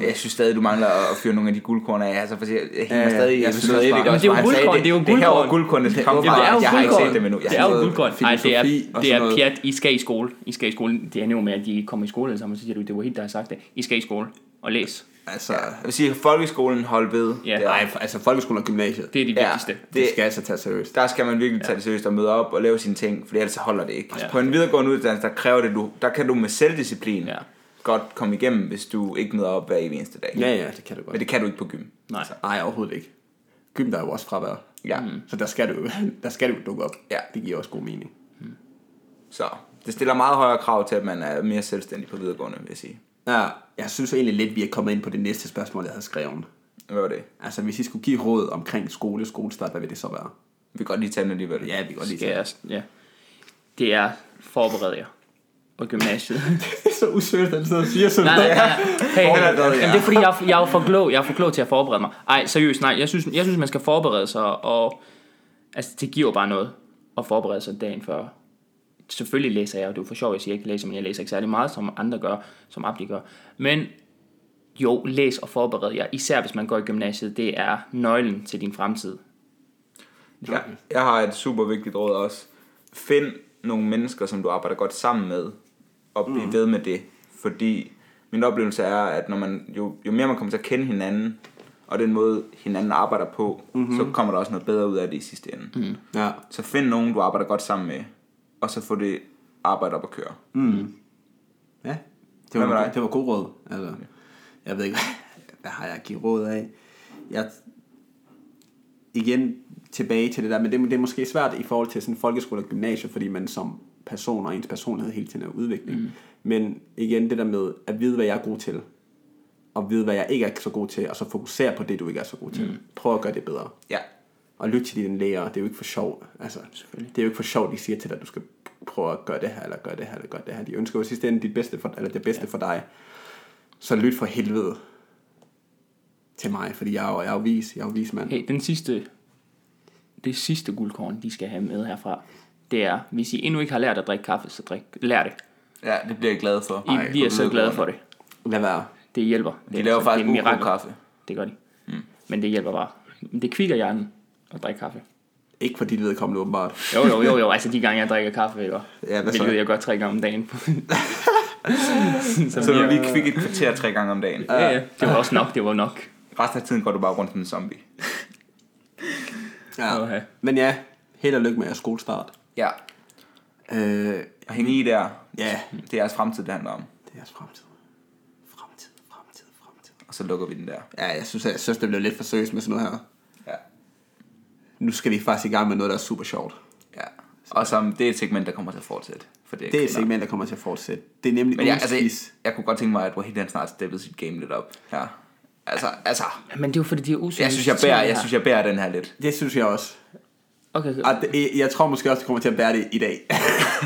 S3: Jeg synes stadig, du mangler at fyre nogle af de guldkorn af. Altså, for jeg, jeg, hænger
S1: Ja, ja.
S3: stadig,
S1: Jeg synes
S3: synes
S1: også
S3: stadig,
S1: bare-
S3: ikke
S1: Men
S3: også,
S2: det er jo
S3: hvor han sagde,
S2: guldkorn, det er jo
S3: Det her var
S2: guldkorn.
S3: guldkornene skal
S1: Det-
S3: komme
S1: det er
S3: fra.
S1: jo
S3: Jeg har ikke set
S2: guldkorn.
S3: dem endnu. Jeg
S2: Det
S3: har
S2: er jo
S3: ikke-
S2: guldkorn. Nej, det er,
S1: filosofi og
S2: det
S1: sådan
S2: er
S1: noget.
S2: pjat. I skal i skole. I skal i skole. Det er jo med, at de kommer i skole alle sammen, og så siger du, det var helt, der har sagt det. I skal i skole og læs.
S1: Altså,
S3: Jeg vil sige, folkeskolen hold ved.
S2: Ja.
S3: Det er-
S1: nej, altså folkeskolen og gymnasiet.
S2: Det er det
S3: Ja.
S2: vigtigste.
S1: det
S3: det-
S1: skal altså tage seriøst.
S3: der skal man virkelig tage det seriøst og møde op og lave sine ting, for ellers så holder det ikke. Ja. På en videregående uddannelse, der kræver det, du, der kan du med selvdisciplin
S2: Ja.
S3: godt komme igennem, hvis du ikke møder op hver evig eneste dag.
S1: Ja, ja, det kan du godt.
S3: Men det kan du ikke på gym.
S2: Nej.
S1: Nej, overhovedet ikke. Gym, der er jo også fravær.
S3: Ja. Mm.
S1: Så der skal du, der skal du dukke op.
S3: Ja.
S1: Det giver også god mening.
S3: Så det stiller meget højere krav til, at man er mere selvstændig på videregående, vil jeg sige.
S1: Ja, jeg synes egentlig lidt, vi er kommet ind på det næste spørgsmål, jeg havde skrevet.
S3: Hvad var det?
S1: Altså, hvis I skulle give råd omkring skole, skolestart, hvad vil det så være?
S3: Vi kan godt lige tage den alligevel.
S1: Ja, vi kan godt lige
S2: Skal jeg, ja. Det er forbered jer. Og gymnasiet.
S1: Det er så usøgt, at han siger sådan
S2: nej, nej, nej. Hey, hey.
S3: Forbered jer.
S2: Jamen, det er fordi, jeg, jeg er jo for klog. Jeg er for klog til at forberede mig. Ej, seriøst, nej. Jeg synes, jeg synes man skal forberede sig, og altså, det giver jo bare noget at forberede sig dagen før. Selvfølgelig læser jeg, og det er jo for sjovt, jeg siger, jeg ikke læser, men jeg læser ikke særlig meget, som andre gør, som Abdi gør. Men jo, læs og forbered jer, især hvis man går i gymnasiet. Det er nøglen til din fremtid.
S3: Ja, jeg har et super vigtigt råd også. Find nogle mennesker, som du arbejder godt sammen med, og bliv ved med det. Fordi min oplevelse er, at når man, jo, jo mere man kommer til at kende hinanden, og den måde hinanden arbejder på, mm-hmm. så kommer der også noget bedre ud af det i sidste ende. Mm.
S1: Ja.
S3: Så find nogen, du arbejder godt sammen med, og så få det arbejde op at køre. Mm.
S1: ja. Det
S3: Hvad med
S1: var,
S3: dig?
S1: det var god råd. Altså, jeg ved ikke, hvad har jeg at give råd af? Jeg, igen tilbage til det der, men det, det er måske svært i forhold til sådan folkeskole og gymnasium, fordi man som person og ens personlighed hele tiden er udvikling. Mm. Men igen, det der med at vide, hvad jeg er god til, og vide, hvad jeg ikke er så god til, og så fokusere på det, du ikke er så god til. Mm. Prøv at gøre det bedre.
S3: Ja.
S1: Og lyt til dine læger, det er jo ikke for sjov. Altså, det er jo ikke for sjov, de siger til dig, at du skal prøve at gøre det her, eller gøre det her, eller gøre det her. De ønsker jo i sidste ende dit bedste for, eller det bedste ja. for dig. Så lyt for helvede til mig, fordi jeg er jo, jeg er jo vis, jeg er jo vis mand.
S2: Hey, den sidste, det sidste guldkorn, de skal have med herfra, det er, hvis I endnu ikke har lært at drikke kaffe, så drik, lær det.
S3: Ja, det bliver jeg glad for.
S2: I, Ej, vi er så glade for det.
S1: Lad være.
S2: Det hjælper. Det,
S3: De
S2: er
S3: laver
S2: altså- det er
S3: faktisk
S2: et
S3: god
S2: mirakel.
S3: kaffe.
S2: Det gør de. Mm. Men det hjælper bare. Det kvikker hjernen at drikke kaffe.
S1: Ikke for dit vedkommende åbenbart.
S2: Jo, jo, jo, jo. Altså de gange, jeg drikker kaffe, ikke?
S1: Ja, hvad så?
S2: Hvilket jeg gør tre gange om dagen.
S3: Så du lige kvik et kvarter tre gange om dagen.
S2: ja, ja. Det var også nok, det var nok.
S3: Resten af tiden går du bare rundt som en zombie.
S1: Ja.
S2: Okay.
S1: Men ja, held og lykke med jeres skolestart.
S3: Ja.
S1: Øh,
S3: Og hænge i der.
S1: ja,
S3: Det er jeres fremtid, det handler om.
S1: det er jeres fremtid. Fremtid, fremtid, fremtid.
S3: Og så lukker vi den der.
S1: Ja, jeg synes, jeg synes det blev lidt for seriøst med sådan noget her.
S3: Ja.
S1: Nu skal vi faktisk i gang med noget, der er super sjovt.
S3: ja. Og som, det er et segment, der kommer til at fortsætte. For det er,
S1: Det er et
S3: kvinder.
S1: segment, der kommer til at fortsætte. Det er nemlig
S3: Men jeg, altså, jeg,
S1: ugens quiz.
S3: jeg kunne godt tænke mig, at Wahid snart steppede sit game lidt op. Ja. Altså, altså.
S2: Men det er jo fordi, de er usynlige.
S3: Jeg synes, jeg bærer, jeg synes, jeg bærer den her lidt.
S1: Det synes jeg også.
S2: Okay, okay.
S1: Og det, jeg tror måske også, det kommer til at bære det i dag.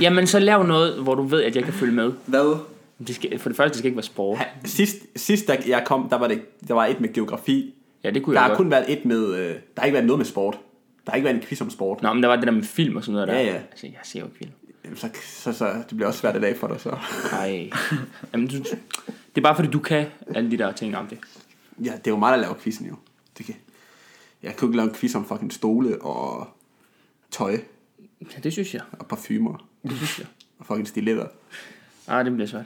S2: Jamen, så lav noget, hvor du ved, at jeg kan følge med.
S1: Hvad?
S2: Det skal, for det første, det skal ikke være sport.
S1: Sidst, sidst der jeg kom, der var, det, der var et med geografi.
S2: Ja, det kunne
S1: Der
S2: jeg
S1: har
S2: godt.
S1: kun været et med... Øh, der har ikke været noget med sport. Der har ikke været en quiz om sport.
S2: Nå, men der var det der med film og sådan noget der.
S1: Ja, ja.
S2: Altså, jeg ser jo ikke film.
S1: Jamen, så, så, så det bliver også svært i dag for dig, så.
S2: Nej. Jamen, du, det er bare fordi, du kan alle de der ting om det.
S1: Ja, det er jo mig, der laver quizzen jo. Det kan. Jeg kunne ikke lave en quiz om fucking stole og tøj
S2: Ja, det synes jeg.
S1: og parfumer
S2: Det synes jeg.
S1: og fucking stiletter.
S2: Ah, det bliver svært.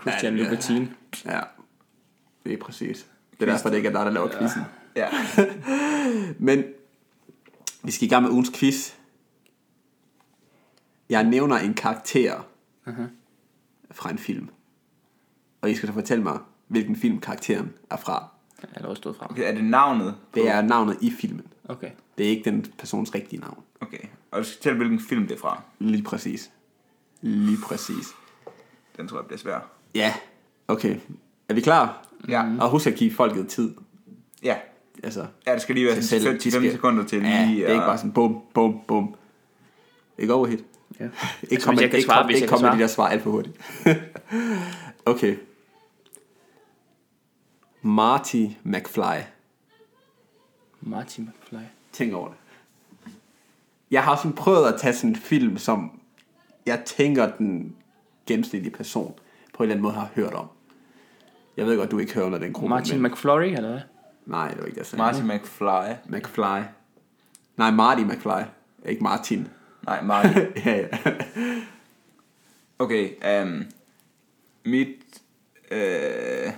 S2: Christian
S1: Ja, det-
S2: Louboutin.
S1: Ja, det er præcis. Det er derfor, det ikke er dig, der laver quizzen.
S3: Ja.
S1: Men vi skal i gang med ugens quiz. Jeg nævner en karakter uh-huh. fra en film. Og I skal så fortælle mig, hvilken film karakteren er fra.
S2: Jeg har også stået frem.
S3: Er det navnet?
S1: Det er navnet i filmen.
S2: Okay.
S1: Det er ikke den persons rigtige navn.
S3: Okay. Og du skal fortælle, hvilken film det er fra.
S1: Lige præcis. Lige præcis.
S3: Den tror jeg bliver svær.
S1: Ja, okay. Er vi klar?
S3: Ja.
S1: Og husk at give folket tid.
S3: Ja.
S1: Altså,
S3: Ja, det skal lige være
S1: til selv-
S3: sådan
S1: de
S3: 5
S1: skal-
S3: sekunder til lige.
S1: Ja, det er ikke
S3: at-
S1: bare sådan bum, bum, bum. Ikke overhit.
S2: Ja.
S1: Ikke kom,
S2: Altså, hvis
S1: med,
S2: jeg kan
S1: ikke
S2: svare,
S1: kom,
S2: hvis
S1: ikke
S2: jeg
S1: kom
S2: kan
S1: med de der svar alt for hurtigt. okay. Marty McFly.
S2: Martin McFly.
S1: Tænk over det. Jeg har sådan prøvet at tage sådan en film, som jeg tænker, den gennemsnitlige person på en eller anden måde har hørt om. Jeg ved godt, du ikke hører under den gruppe.
S2: Martin
S1: men...
S2: McFlurry, eller hvad?
S1: Nej, det var ikke det, jeg sagde.
S3: Martin McFly.
S1: McFly. Nej, Marty McFly. Ikke Martin.
S3: Nej, Martin.
S1: ja, ja.
S3: Okay, um, mit... Øh,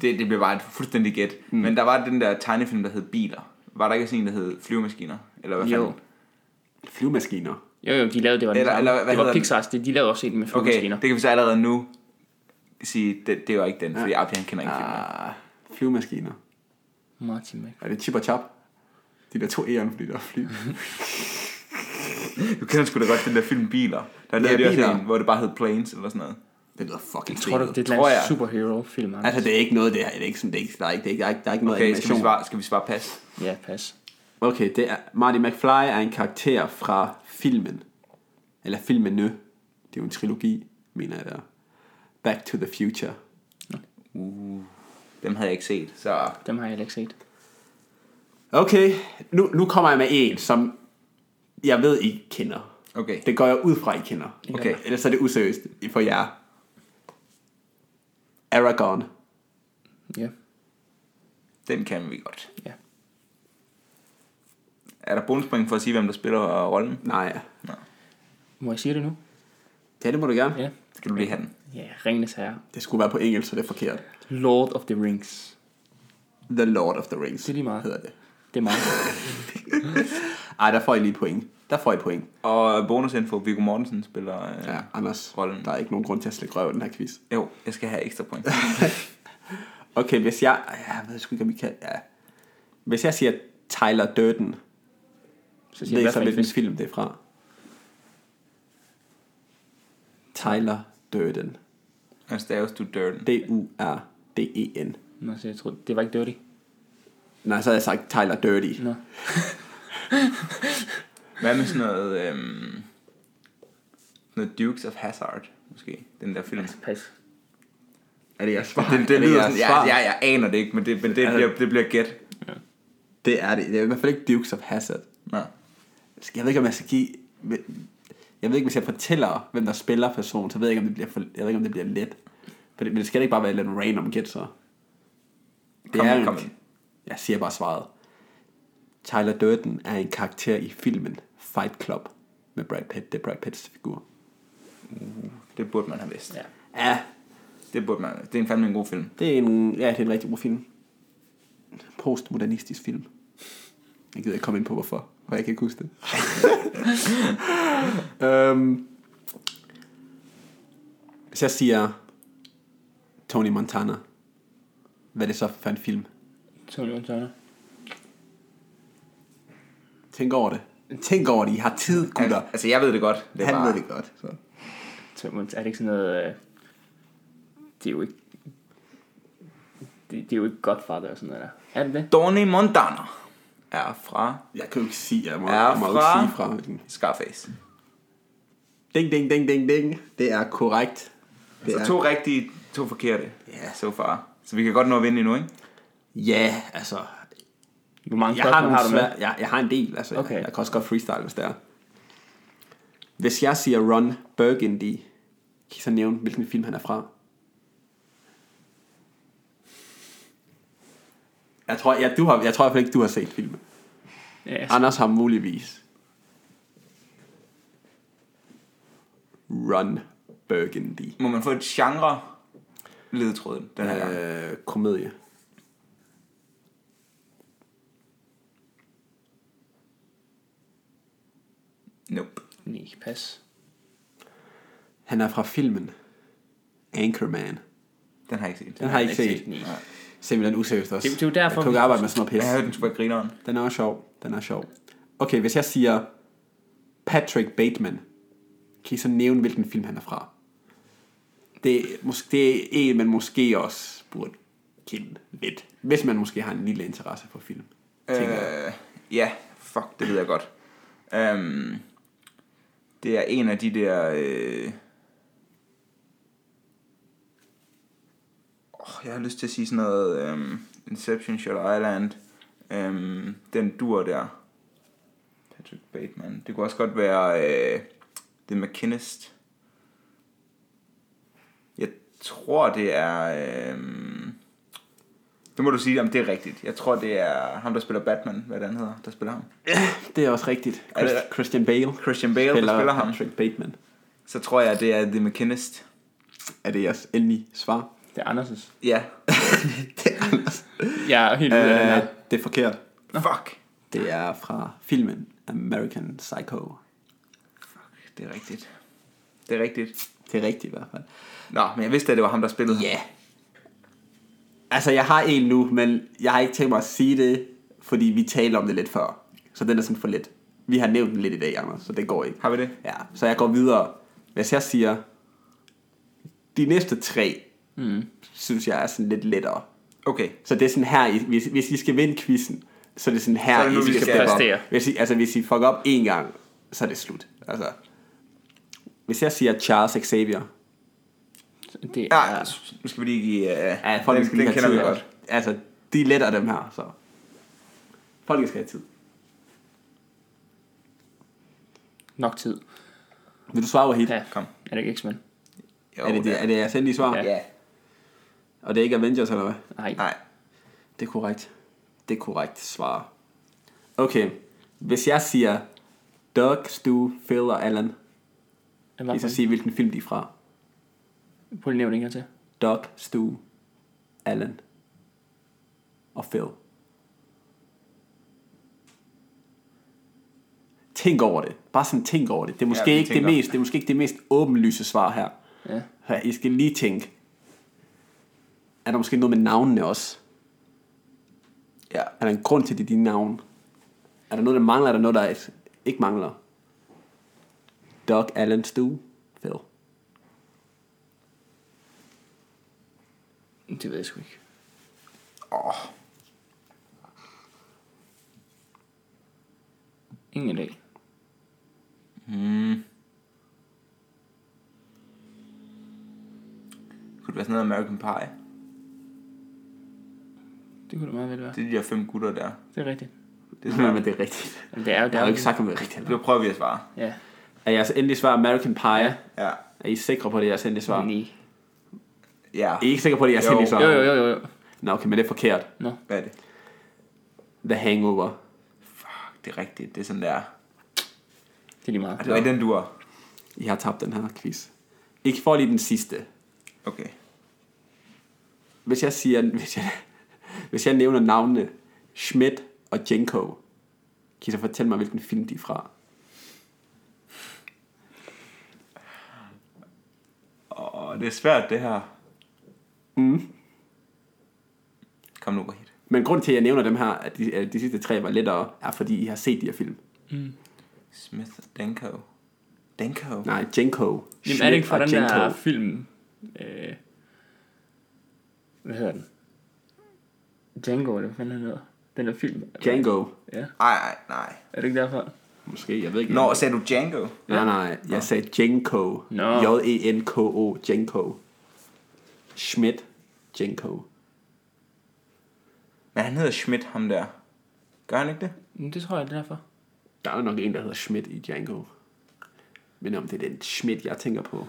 S3: det, det blev bare et fuldstændig gæt.
S1: Hmm.
S3: Mm. Men der var den der tegnefilm, der hed Biler. Var der ikke sådan en, der hed Flyvemaskiner? Eller hvad
S2: Jo.
S3: fanden?
S1: Flyvemaskiner.
S2: Jo, jo, de lavede det var den
S3: Eller-
S2: samme.
S3: eller hvad
S2: det var
S3: hedder den?
S2: Pixar's, det, de lavede også en med
S3: Okay,
S2: flyvemaskiner.
S3: det kan vi så allerede nu sige, det, det var ikke den, fordi Abdi han kender ikke filmen.
S1: Ah, flyvemaskiner.
S2: Martin Mc...
S1: Er det chip og chap? De der to æren, fordi der er fly.
S3: Du kender sgu da godt den der film Biler. Der lavede de også
S1: Biler.
S3: en, hvor det bare hed Planes eller sådan noget.
S1: Det lyder fucking
S2: Tror du, det er et
S1: det...
S2: eller
S3: Tror jeg.
S2: andet superhero-film? Anders?
S1: Altså, det er ikke noget, det er, det er ikke sådan, det er ikke, der er ikke, det er ikke, der er ikke, der er ikke noget
S3: Okay, skal
S1: animation.
S3: vi svare, skal vi svare pas?
S2: Ja, pas.
S1: Okay, det er, Marty McFly er en karakter fra filmen. Eller filmen nu. Det er jo en trilogi, mener jeg der. Back to the Future.
S3: Dem havde jeg ikke set, så...
S2: Dem har jeg heller ikke set.
S1: Okay, nu, nu kommer jeg med en, som jeg ved, I kender.
S3: Okay.
S1: Det går jeg ud fra, I kender.
S3: Okay.
S1: Ellers er det useriøst for jer. Aragorn.
S2: Ja,
S3: Den kan vi godt.
S2: ja.
S3: Er der bonuspoint for at sige, hvem der spiller rollen?
S1: Nej.
S2: Må jeg sige det nu?
S1: Ja, det må du gerne.
S2: Ja.
S3: Skal du lige have den?
S2: Ja, Ringenes Herre.
S1: Det skulle være på engelsk, så det er forkert.
S2: Lord of the Rings.
S1: The Lord of the Rings
S2: Det er lige meget.
S1: hedder det.
S2: Det er mig.
S1: Ej, der får I lige point. Der får I point.
S3: Og bonusinfo, Viggo Mortensen spiller... Øh,
S1: Ja, Anders,
S3: Rollen.
S1: der er ikke nogen grund til at slikke røv i den her quiz.
S3: Jo, jeg skal have ekstra point.
S1: Okay, hvis jeg... ej, Jeg ved sgu ikke, om I kan... Ja. Hvis jeg siger Tyler Durden,
S2: Så
S1: læser
S2: jeg,
S1: hvilken
S2: fisk.
S1: film det er fra. Tyler Durden.
S3: Han staves du Durden.
S1: D-U-R-D-E-N.
S2: Nå, så jeg troede, det var ikke dirty.
S1: E Nej, så havde jeg sagt Tyler Dirty.
S2: Nå.
S3: Hvad med sådan noget... Øhm, noget Dukes of Hazard måske. Den der film.
S2: Pas.
S1: Er det jeres svar?
S3: Den,
S1: Er
S3: den lyder sådan,
S1: jeres
S3: jeg,
S1: svar? Altså-
S3: jeg, jeg aner det ikke, men det, men det, bliver, det bliver gæt.
S1: Det er det. Det er i hvert fald ikke Dukes of Hazzard.
S3: Nå.
S1: Jeg ved ikke, om jeg skal give... Jeg ved ikke, hvis jeg fortæller, hvem der spiller personen, så ved jeg ikke, om det bliver, for... jeg ved ikke, om det bliver let. For det, men det skal da ikke bare være lidt random gæt, så. Det
S3: Kom,
S1: er en...
S3: kom ind.
S1: Jeg siger bare svaret. Tyler Durden er en karakter i filmen Fight Club med Brad Pitt. Det er Brad Pitts figur.
S3: Det burde man have vidst.
S2: Ja.
S1: Ja,
S3: Det burde man. Det er en fandme en god film.
S1: det er en, ja, det er en rigtig god film. Postmodernistisk film. Jeg gider ikke komme ind på, hvorfor. For jeg kan ikke huske det. øhm, hvis jeg siger Tony Montana, hvad er det så for en film?
S2: Tony Montana.
S1: Tænk over det. Tænk over det. I har tid, gutter.
S3: Han, altså, jeg ved det godt. Det er
S1: Han
S3: bare,
S1: ved det godt. Så.
S2: Tony Montana. Er det ikke sådan noget... Øh, det er jo ikke... Det, det er jo ikke Godfather og sådan noget der. Er det det?
S3: Donny Montana er fra
S1: Jeg kan jo ikke sige, jeg må,
S3: Er
S1: jeg må jo
S3: fra-
S1: ikke sige fra. hvilken-
S3: Scarface.
S1: Ding, ding, ding, ding, ding. Det er korrekt. Det
S3: Så
S1: er-
S3: to rigtige, to forkerte.
S1: Ja.
S3: So far. Så vi kan godt nå at vinde endnu, ikke?
S1: Ja, altså.
S2: Hvor mange
S1: Jeg har,
S2: spørgsmål
S1: nogle
S2: har du med?
S1: svær, jeg, jeg har en del. Altså, okay.
S2: Okay.
S1: jeg, jeg kan også godt freestyle, hvis det er. Hvis jeg siger Ron Burgundy, kan I så nævne, hvilken film han er fra? Jeg tror, jeg, du har, jeg tror i hvert fald ikke, du har set filmen.
S2: Ja, jeg-
S1: Anders har muligvis. Ron Burgundy.
S3: Må man få et genre ledetråd den her gang?
S1: Øh, komedie.
S3: Nope.
S2: Nej, pas.
S1: Han er fra filmen Anchorman.
S3: Den har jeg ikke set.
S1: Den har jeg ikke
S2: ikke
S1: set.
S2: set, nej.
S1: Simpelthen useriøst også.
S2: Det- det er jo derfor,
S1: Jeg kunne
S2: vi-
S1: ikke arbejde med sådan noget
S3: Jeg har hørt,
S1: pis.
S3: den skulle være grineren.
S1: Den er også sjov. Den er sjov. Okay, hvis jeg siger Patrick Bateman, kan I så nævne, hvilken film han er fra? Det er, mås- det er en, man måske også burde kende lidt. Hvis man måske har en lille interesse for film. tænker jeg.
S3: Øh, ja, fuck, det ved jeg godt. Øhm, det er en af de der... Øh... Oh, jeg har lyst til at sige sådan noget... Øhm, Inception, Shutter Island. Øhm, den dur der. Patrick Bateman. Det kunne også godt være... Øh, The McKinnist. Jeg tror, det er... Øh... Det må du sige, om det er rigtigt. Jeg tror, det er ham, der spiller Batman, hvad den hedder, der spiller ham.
S1: Det er også rigtigt.
S3: Er det-
S1: Christ- Christian Bale
S3: Christian Bale, spiller der spiller ham.
S1: Patrick Bateman.
S3: Så tror jeg, det er The McKinnist.
S1: Er det jeres endelige svar?
S2: Det er Anders'.
S3: Ja.
S1: det er Anders.
S2: Jeg er helt ude af den her.
S1: Øh, det er forkert.
S3: Fuck.
S1: Det er fra filmen American Psycho.
S3: Det er rigtigt. Det er rigtigt.
S1: Det er rigtigt i hvert fald.
S3: Nå, men jeg vidste, at det var ham, der spillede ham.
S1: Ja. Altså, jeg har en nu, men jeg har ikke tænkt mig at sige det, fordi vi talte om det lidt før. Så den er sådan for lidt. Vi har nævnt den lidt i dag, Anders, så det går ikke.
S3: Har vi det?
S1: Ja, så jeg går videre. Hvis jeg siger, de næste tre, mm. synes jeg er sådan lidt lettere.
S3: Okay.
S1: Så det er sådan her, I, hvis, hvis I skal vinde quizzen, så er det sådan her,
S3: Så er det nu,
S1: I
S3: vi
S1: skal,
S3: skal
S1: steppe
S2: præstere.
S1: op. Hvis I, altså, hvis I fucker op én gang, så er det slut. Altså, hvis jeg siger Charles Xavier,
S2: Det
S3: Ja,
S2: er...
S3: nu skal vi lige give... Uh,
S1: ja, folk
S3: den,
S1: skal
S3: den
S1: lige have
S3: kender
S1: tid.
S3: vi godt.
S1: Altså, de er lettere dem her, så. Folk skal have tid.
S2: Nok tid.
S1: Vil du svare over hele?
S2: Ja,
S3: Kom.
S2: Er det ikke X-Men?
S3: Jo,
S1: er det, det, er det jeres endelige svar?
S2: Ja.
S3: Ja.
S1: Og det er ikke Avengers, eller hvad?
S2: Nej.
S3: Nej.
S1: Det er korrekt. Det er korrekt svar. Okay, hvis jeg siger Doug, Stu, Phil og Alan,
S2: Hvad
S1: kan I
S2: var
S1: så
S2: det?
S1: sige, hvilken film de er fra?
S2: Prøv lige at nævne det en gang til.
S1: Doug, Stu, Allen og Phil. Tænk over det. Bare sådan tænk over det. Det er måske,
S3: vi
S1: ja, ikke, det
S3: tænker.
S1: mest, det er måske ikke det mest åbenlyse svar her.
S2: Ja.
S1: her. I skal lige tænke. Er der måske noget med navnene også?
S3: Ja.
S1: Er der en grund til, at det er dine navne? Er der noget, der mangler? Er der noget, der ikke mangler? Doug, Allen, Stu, Phil.
S2: Det ved jeg sgu ikke.
S3: Åh,
S2: Ingen idé.
S3: kunne det være sådan noget American Pie?
S2: Det kunne det meget vel være.
S3: Det er de der fem gutter der.
S2: Det er rigtigt.
S1: Det er, men det er rigtigt.
S2: Jamen, det er jo
S1: Jeg har jo
S2: der.
S1: ikke sagt, om det er rigtigt.
S3: Nu prøver vi at svare.
S2: Ja.
S1: Er jeres endelige svar American Pie? Ja.
S3: Ja.
S1: Er I sikre på, det er jeres endelige svar?
S2: Nej.
S3: Ja.
S1: Er I ikke sikre på, det er jeres
S3: Jo.
S1: endelige svar?
S2: Jo, jo, jo, jo, jo.
S1: Nå, okay, men det er forkert.
S2: Nå.
S3: Hvad er det?
S1: The Hangover.
S3: Fuck, det er rigtigt. Det er sådan, der.
S2: Det er lige meget.
S3: Er det den, du er?
S1: I har tabt den her quiz. Ikke for lige den sidste.
S3: Okay.
S1: Hvis jeg siger, hvis jeg, hvis jeg nævner navnene Schmidt og Jenko, kan I så fortælle mig, hvilken film de er fra?
S3: Åh, det er svært, det her.
S1: Mm.
S3: Kom nu, Wahid.
S1: Men grund til, at jeg nævner dem her, at de, at de sidste tre var lettere, er fordi I har set de her film.
S3: Smith Danko. Danko?
S1: Nej, Jenko.
S2: Jamen, er det ikke fra den der film? Øh, hvad hedder den? Django, eller hvad fanden han hedder? Den der film.
S1: Django.
S2: Ja.
S3: Nej, nej, nej.
S2: Er det ikke derfor?
S1: Måske, jeg ved ikke.
S3: Nå, sagde du Django?
S1: Nej, nej, jeg sagde E Jenko.
S2: Nå.
S1: J-E-N-K-O, Jenko. Schmidt, Jenko.
S3: Men han hedder Schmidt, ham der. Gør han ikke det?
S2: Men det tror jeg, det er derfor.
S1: Der er jo nok en, der hedder Schmidt i Django. Men om det er den Schmidt, jeg tænker på,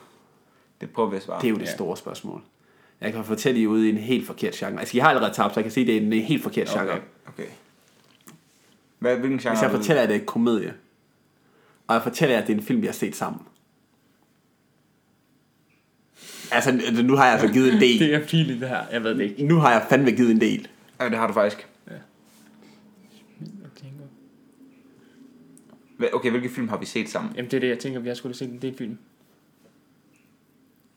S3: Det prøver vi at svare.
S1: det er jo det
S2: Ja.
S1: store spørgsmål. Jeg kan fortælle, I er ude i en helt forkert genre. Altså, jeg har allerede tabt, så jeg kan sige, at det er en helt forkert genre.
S3: Okay, okay. Hvad, hvilken genre?
S1: Hvis jeg
S3: er det?
S1: fortæller jer, at det er komedie, og jeg fortæller jer, at det er en film, vi har set sammen. Altså, nu har jeg altså givet en del.
S2: Det er pinligt, det her. Jeg ved det ikke.
S1: Nu har jeg fandme givet en del.
S3: Ja, det har du faktisk.
S2: Django.
S3: Hva- Okay, hvilke film har vi set sammen?
S2: Jamen, det er det, jeg tænker, vi har skulle set en del film.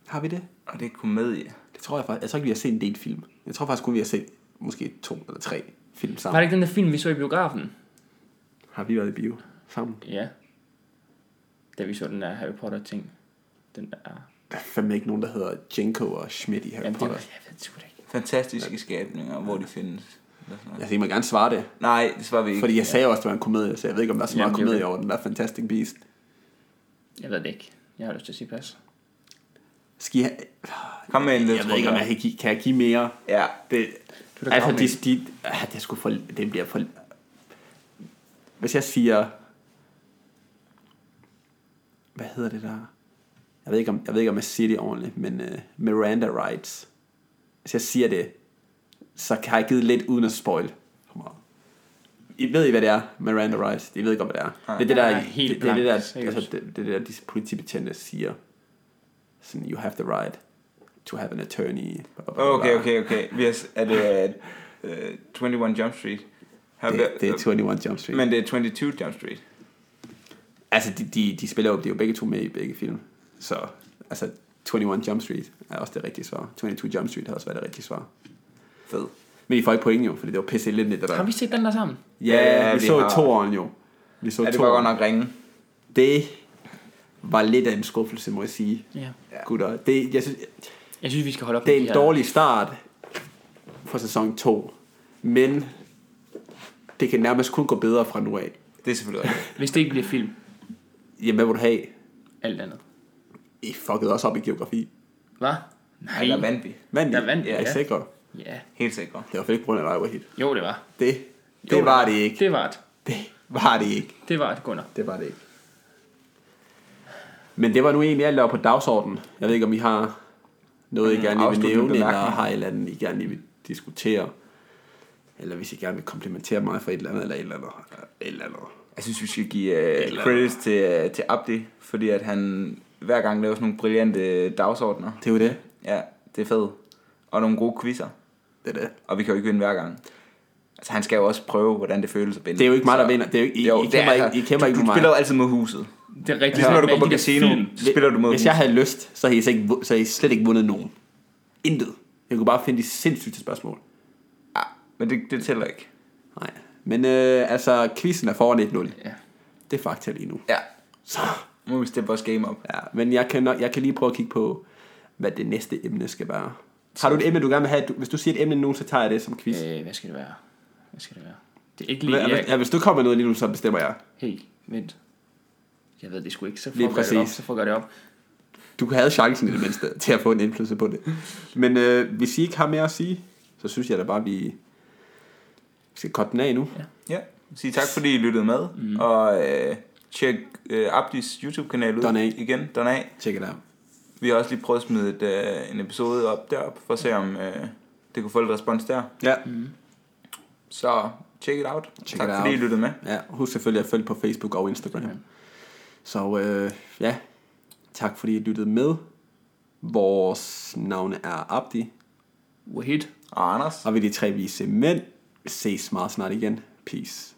S1: Har vi det?
S3: Og det er komedie.
S1: Det tror jeg faktisk. Jeg tror ikke, vi har set en del film. Jeg tror faktisk kun, vi har set måske to eller tre film
S2: Var
S1: sammen.
S2: det ikke den der film, vi så i biografen?
S1: Har vi været i bio sammen?
S2: Ja. Da vi så den der Harry Potter-ting. Den der...
S1: Der er fandme ikke nogen, der hedder Jenko og Schmidt i Harry
S2: Jamen, det var...
S1: Potter.
S2: Jeg ved det sgu da ikke.
S3: Fantastiske skabninger, hvor de findes. Eller sådan noget.
S1: Altså, I må gerne svare det.
S3: Nej, det svarer vi ikke.
S1: Fordi jeg sagde også, at det var en komedie, så jeg ved ikke, om der er så meget
S2: Jamen, det er
S1: komedie
S2: okay.
S1: over den der Fantastic Beast.
S2: Jeg ved det ikke. Jeg har lyst til at sige pas.
S1: Skal I have...
S3: Kom med en
S1: Jeg,
S3: ledtråd
S1: ved ikke, om
S3: her.
S1: jeg kan give, kan jeg give mere.
S3: Ja,
S1: Det,
S2: Du er da
S1: altså,
S2: gammel.
S1: de, de, ah, det, er sgu for, det bliver for... Hvis jeg siger... Hvad hedder det der? Jeg ved ikke, om jeg, ved ikke, om jeg siger det ordentligt, men uh, Miranda Rights. Hvis jeg siger det, så har jeg givet lidt uden at spoil. for meget. I ved I, hvad det er, Miranda Rights? I ved ikke, om, hvad det er.
S3: Nej.
S1: Det er det, der,
S2: Jeg er helt
S1: det, det, er det, der,
S2: blank, seriøst.
S1: altså, det, det er det, der de politibetjente siger. Sådan, you have the right to have an attorney. bla, bla, bla, bla.
S3: okay, okay, okay. Vi har, s- er det uh, 21 Jump Street? Har vi-
S1: Det, det er 21 Jump Street.
S3: øh, Men det er 22 Jump Street.
S1: Altså, de, de, de spiller jo, de er jo begge to med i begge film. Så, altså, 21 Jump Street er også det rigtige svar. 22 Jump Street har også været det rigtige svar.
S3: Fed.
S1: Men I får ikke point jo, fordi det var pisse elendigt, det der.
S2: Har vi set den der sammen?
S1: Ja,
S3: Ja,
S1: vi,
S3: vi
S1: så
S3: har.
S1: toeren jo. Vi så
S3: Ja, det var
S1: toeren.
S3: godt nok ringe.
S1: Det var lidt af en skuffelse, må jeg sige.
S2: Ja.
S1: Ja. Gutter, det, jeg synes,
S2: Jeg synes, vi skal holde op
S1: det er
S2: med
S1: en
S2: de her-
S1: dårlig start for sæson 2. Men det kan nærmest kun gå bedre fra nu af.
S3: Det er selvfølgelig rigtigt.
S2: Hvis det ikke bliver film,
S1: Jamen, hvad vil du have?
S2: alt andet.
S1: I fuckede også op i geografi.
S2: Hvad?
S3: Ej, der vandt vi.
S1: Vandt I?
S2: Der vandt vi,
S1: Er I
S2: ja.
S1: sikre?
S2: Ja.
S3: Helt sikkert.
S1: Det var for ikke på grund af dig, Wahid.
S2: Jo, det var.
S1: Det, det
S2: Jo,
S1: var det ikke.
S2: Det var et.
S1: Det var det ikke.
S2: Det var et, Gunnar.
S1: Det var det ikke. Men det var nu egentlig alt, der var på dagsordenen. Jeg ved ikke, om I har noget, I gerne lige vil
S3: afsluttende
S1: nævne, eller
S3: bemærkninger.
S1: har et eller andet, I gerne lige vil diskutere. Eller hvis I gerne vil komplimentere mig for et eller andet, eller et eller andet. Et eller andet.
S3: Jeg synes, vi skal give uh,
S1: Eller-
S3: credits til, uh, til Abdi, fordi at han hver gang laver sådan nogle brillante dagsordner.
S1: Det er jo det.
S3: Ja, det er fedt. Og nogle gode quizzer.
S1: Det er det.
S3: Og vi kan jo ikke vinde hver gang. Altså, han skal jo også prøve, hvordan det føles at vinde.
S1: Det er jo ikke mig, der
S3: Så-
S1: vinder. Det er jo ikke- I-
S3: Jo,
S1: I
S3: det
S1: kæmper
S3: er-
S1: ikke- I kæmper
S3: du,
S1: ikke mod
S3: Du
S1: mig.
S3: spiller jo altid mod huset.
S2: Det er rigtigt.
S3: Ligesom når du
S2: med
S3: går på
S2: alle de der
S3: casino,
S2: film.
S3: så spiller du mod
S1: Hvis
S3: huset.
S1: jeg havde lyst, så havde I, så ikke, vu- så havde I slet ikke vundet nogen. Intet. Jeg kunne bare finde de sindssygte spørgsmål.
S3: Ja, men det, det tæller ikke.
S1: Nej. Men øh, altså, quizzen er foran 1-0.
S2: Ja.
S1: Det er fakta lige nu.
S3: Ja,
S1: Så,
S3: nu må vi steppe vores game op.
S1: ja. Men jeg kan, nok, jeg kan lige prøve at kigge på, hvad det næste emne skal være. Har du et emne, du gerne vil have? Du, hvis du siger et emne nu, så tager jeg det som quiz. Øh,
S2: Øh, hvad skal det være? Hvad skal det være? Det er ikke lige...
S1: ja, hvis, ja,
S2: Jeg...
S1: hvis du kommer med noget lige nu, så bestemmer jeg.
S2: Hey, vent. Jeg ved det sgu ikke, så
S1: Lige
S2: får jeg det op,
S1: præcis.
S2: så får jeg det op.
S1: Du havde chancen i det mindste til at få en indflydelse på det. Men øh, hvis I ikke har mere at sige, så synes jeg da bare, vi vi skal korte den af nu.
S3: Ja, sige tak fordi I lyttede med,
S1: Mhm.
S3: mm. og øh, tjek øh, Abdis YouTube-kanal ud
S1: Don A.
S3: igen, Don A.
S1: Check it out.
S3: Vi har også lige prøvet at smide et, øh, en episode op derop, for at se om øh, det kunne få lidt respons der.
S1: Ja.
S3: Så check it out.
S1: Check
S3: tak
S1: it
S3: fordi
S1: out.
S3: I lyttede med.
S1: Ja, husk selvfølgelig at følge på Facebook og Instagram.
S2: Ja.
S1: Så øh, ja, tak fordi I lyttede med. Vores navne er Abdi,
S2: Wahid.
S3: Og Anders.
S1: og vi er de tre vise mænd. Vi ses meget snart igen. Peace.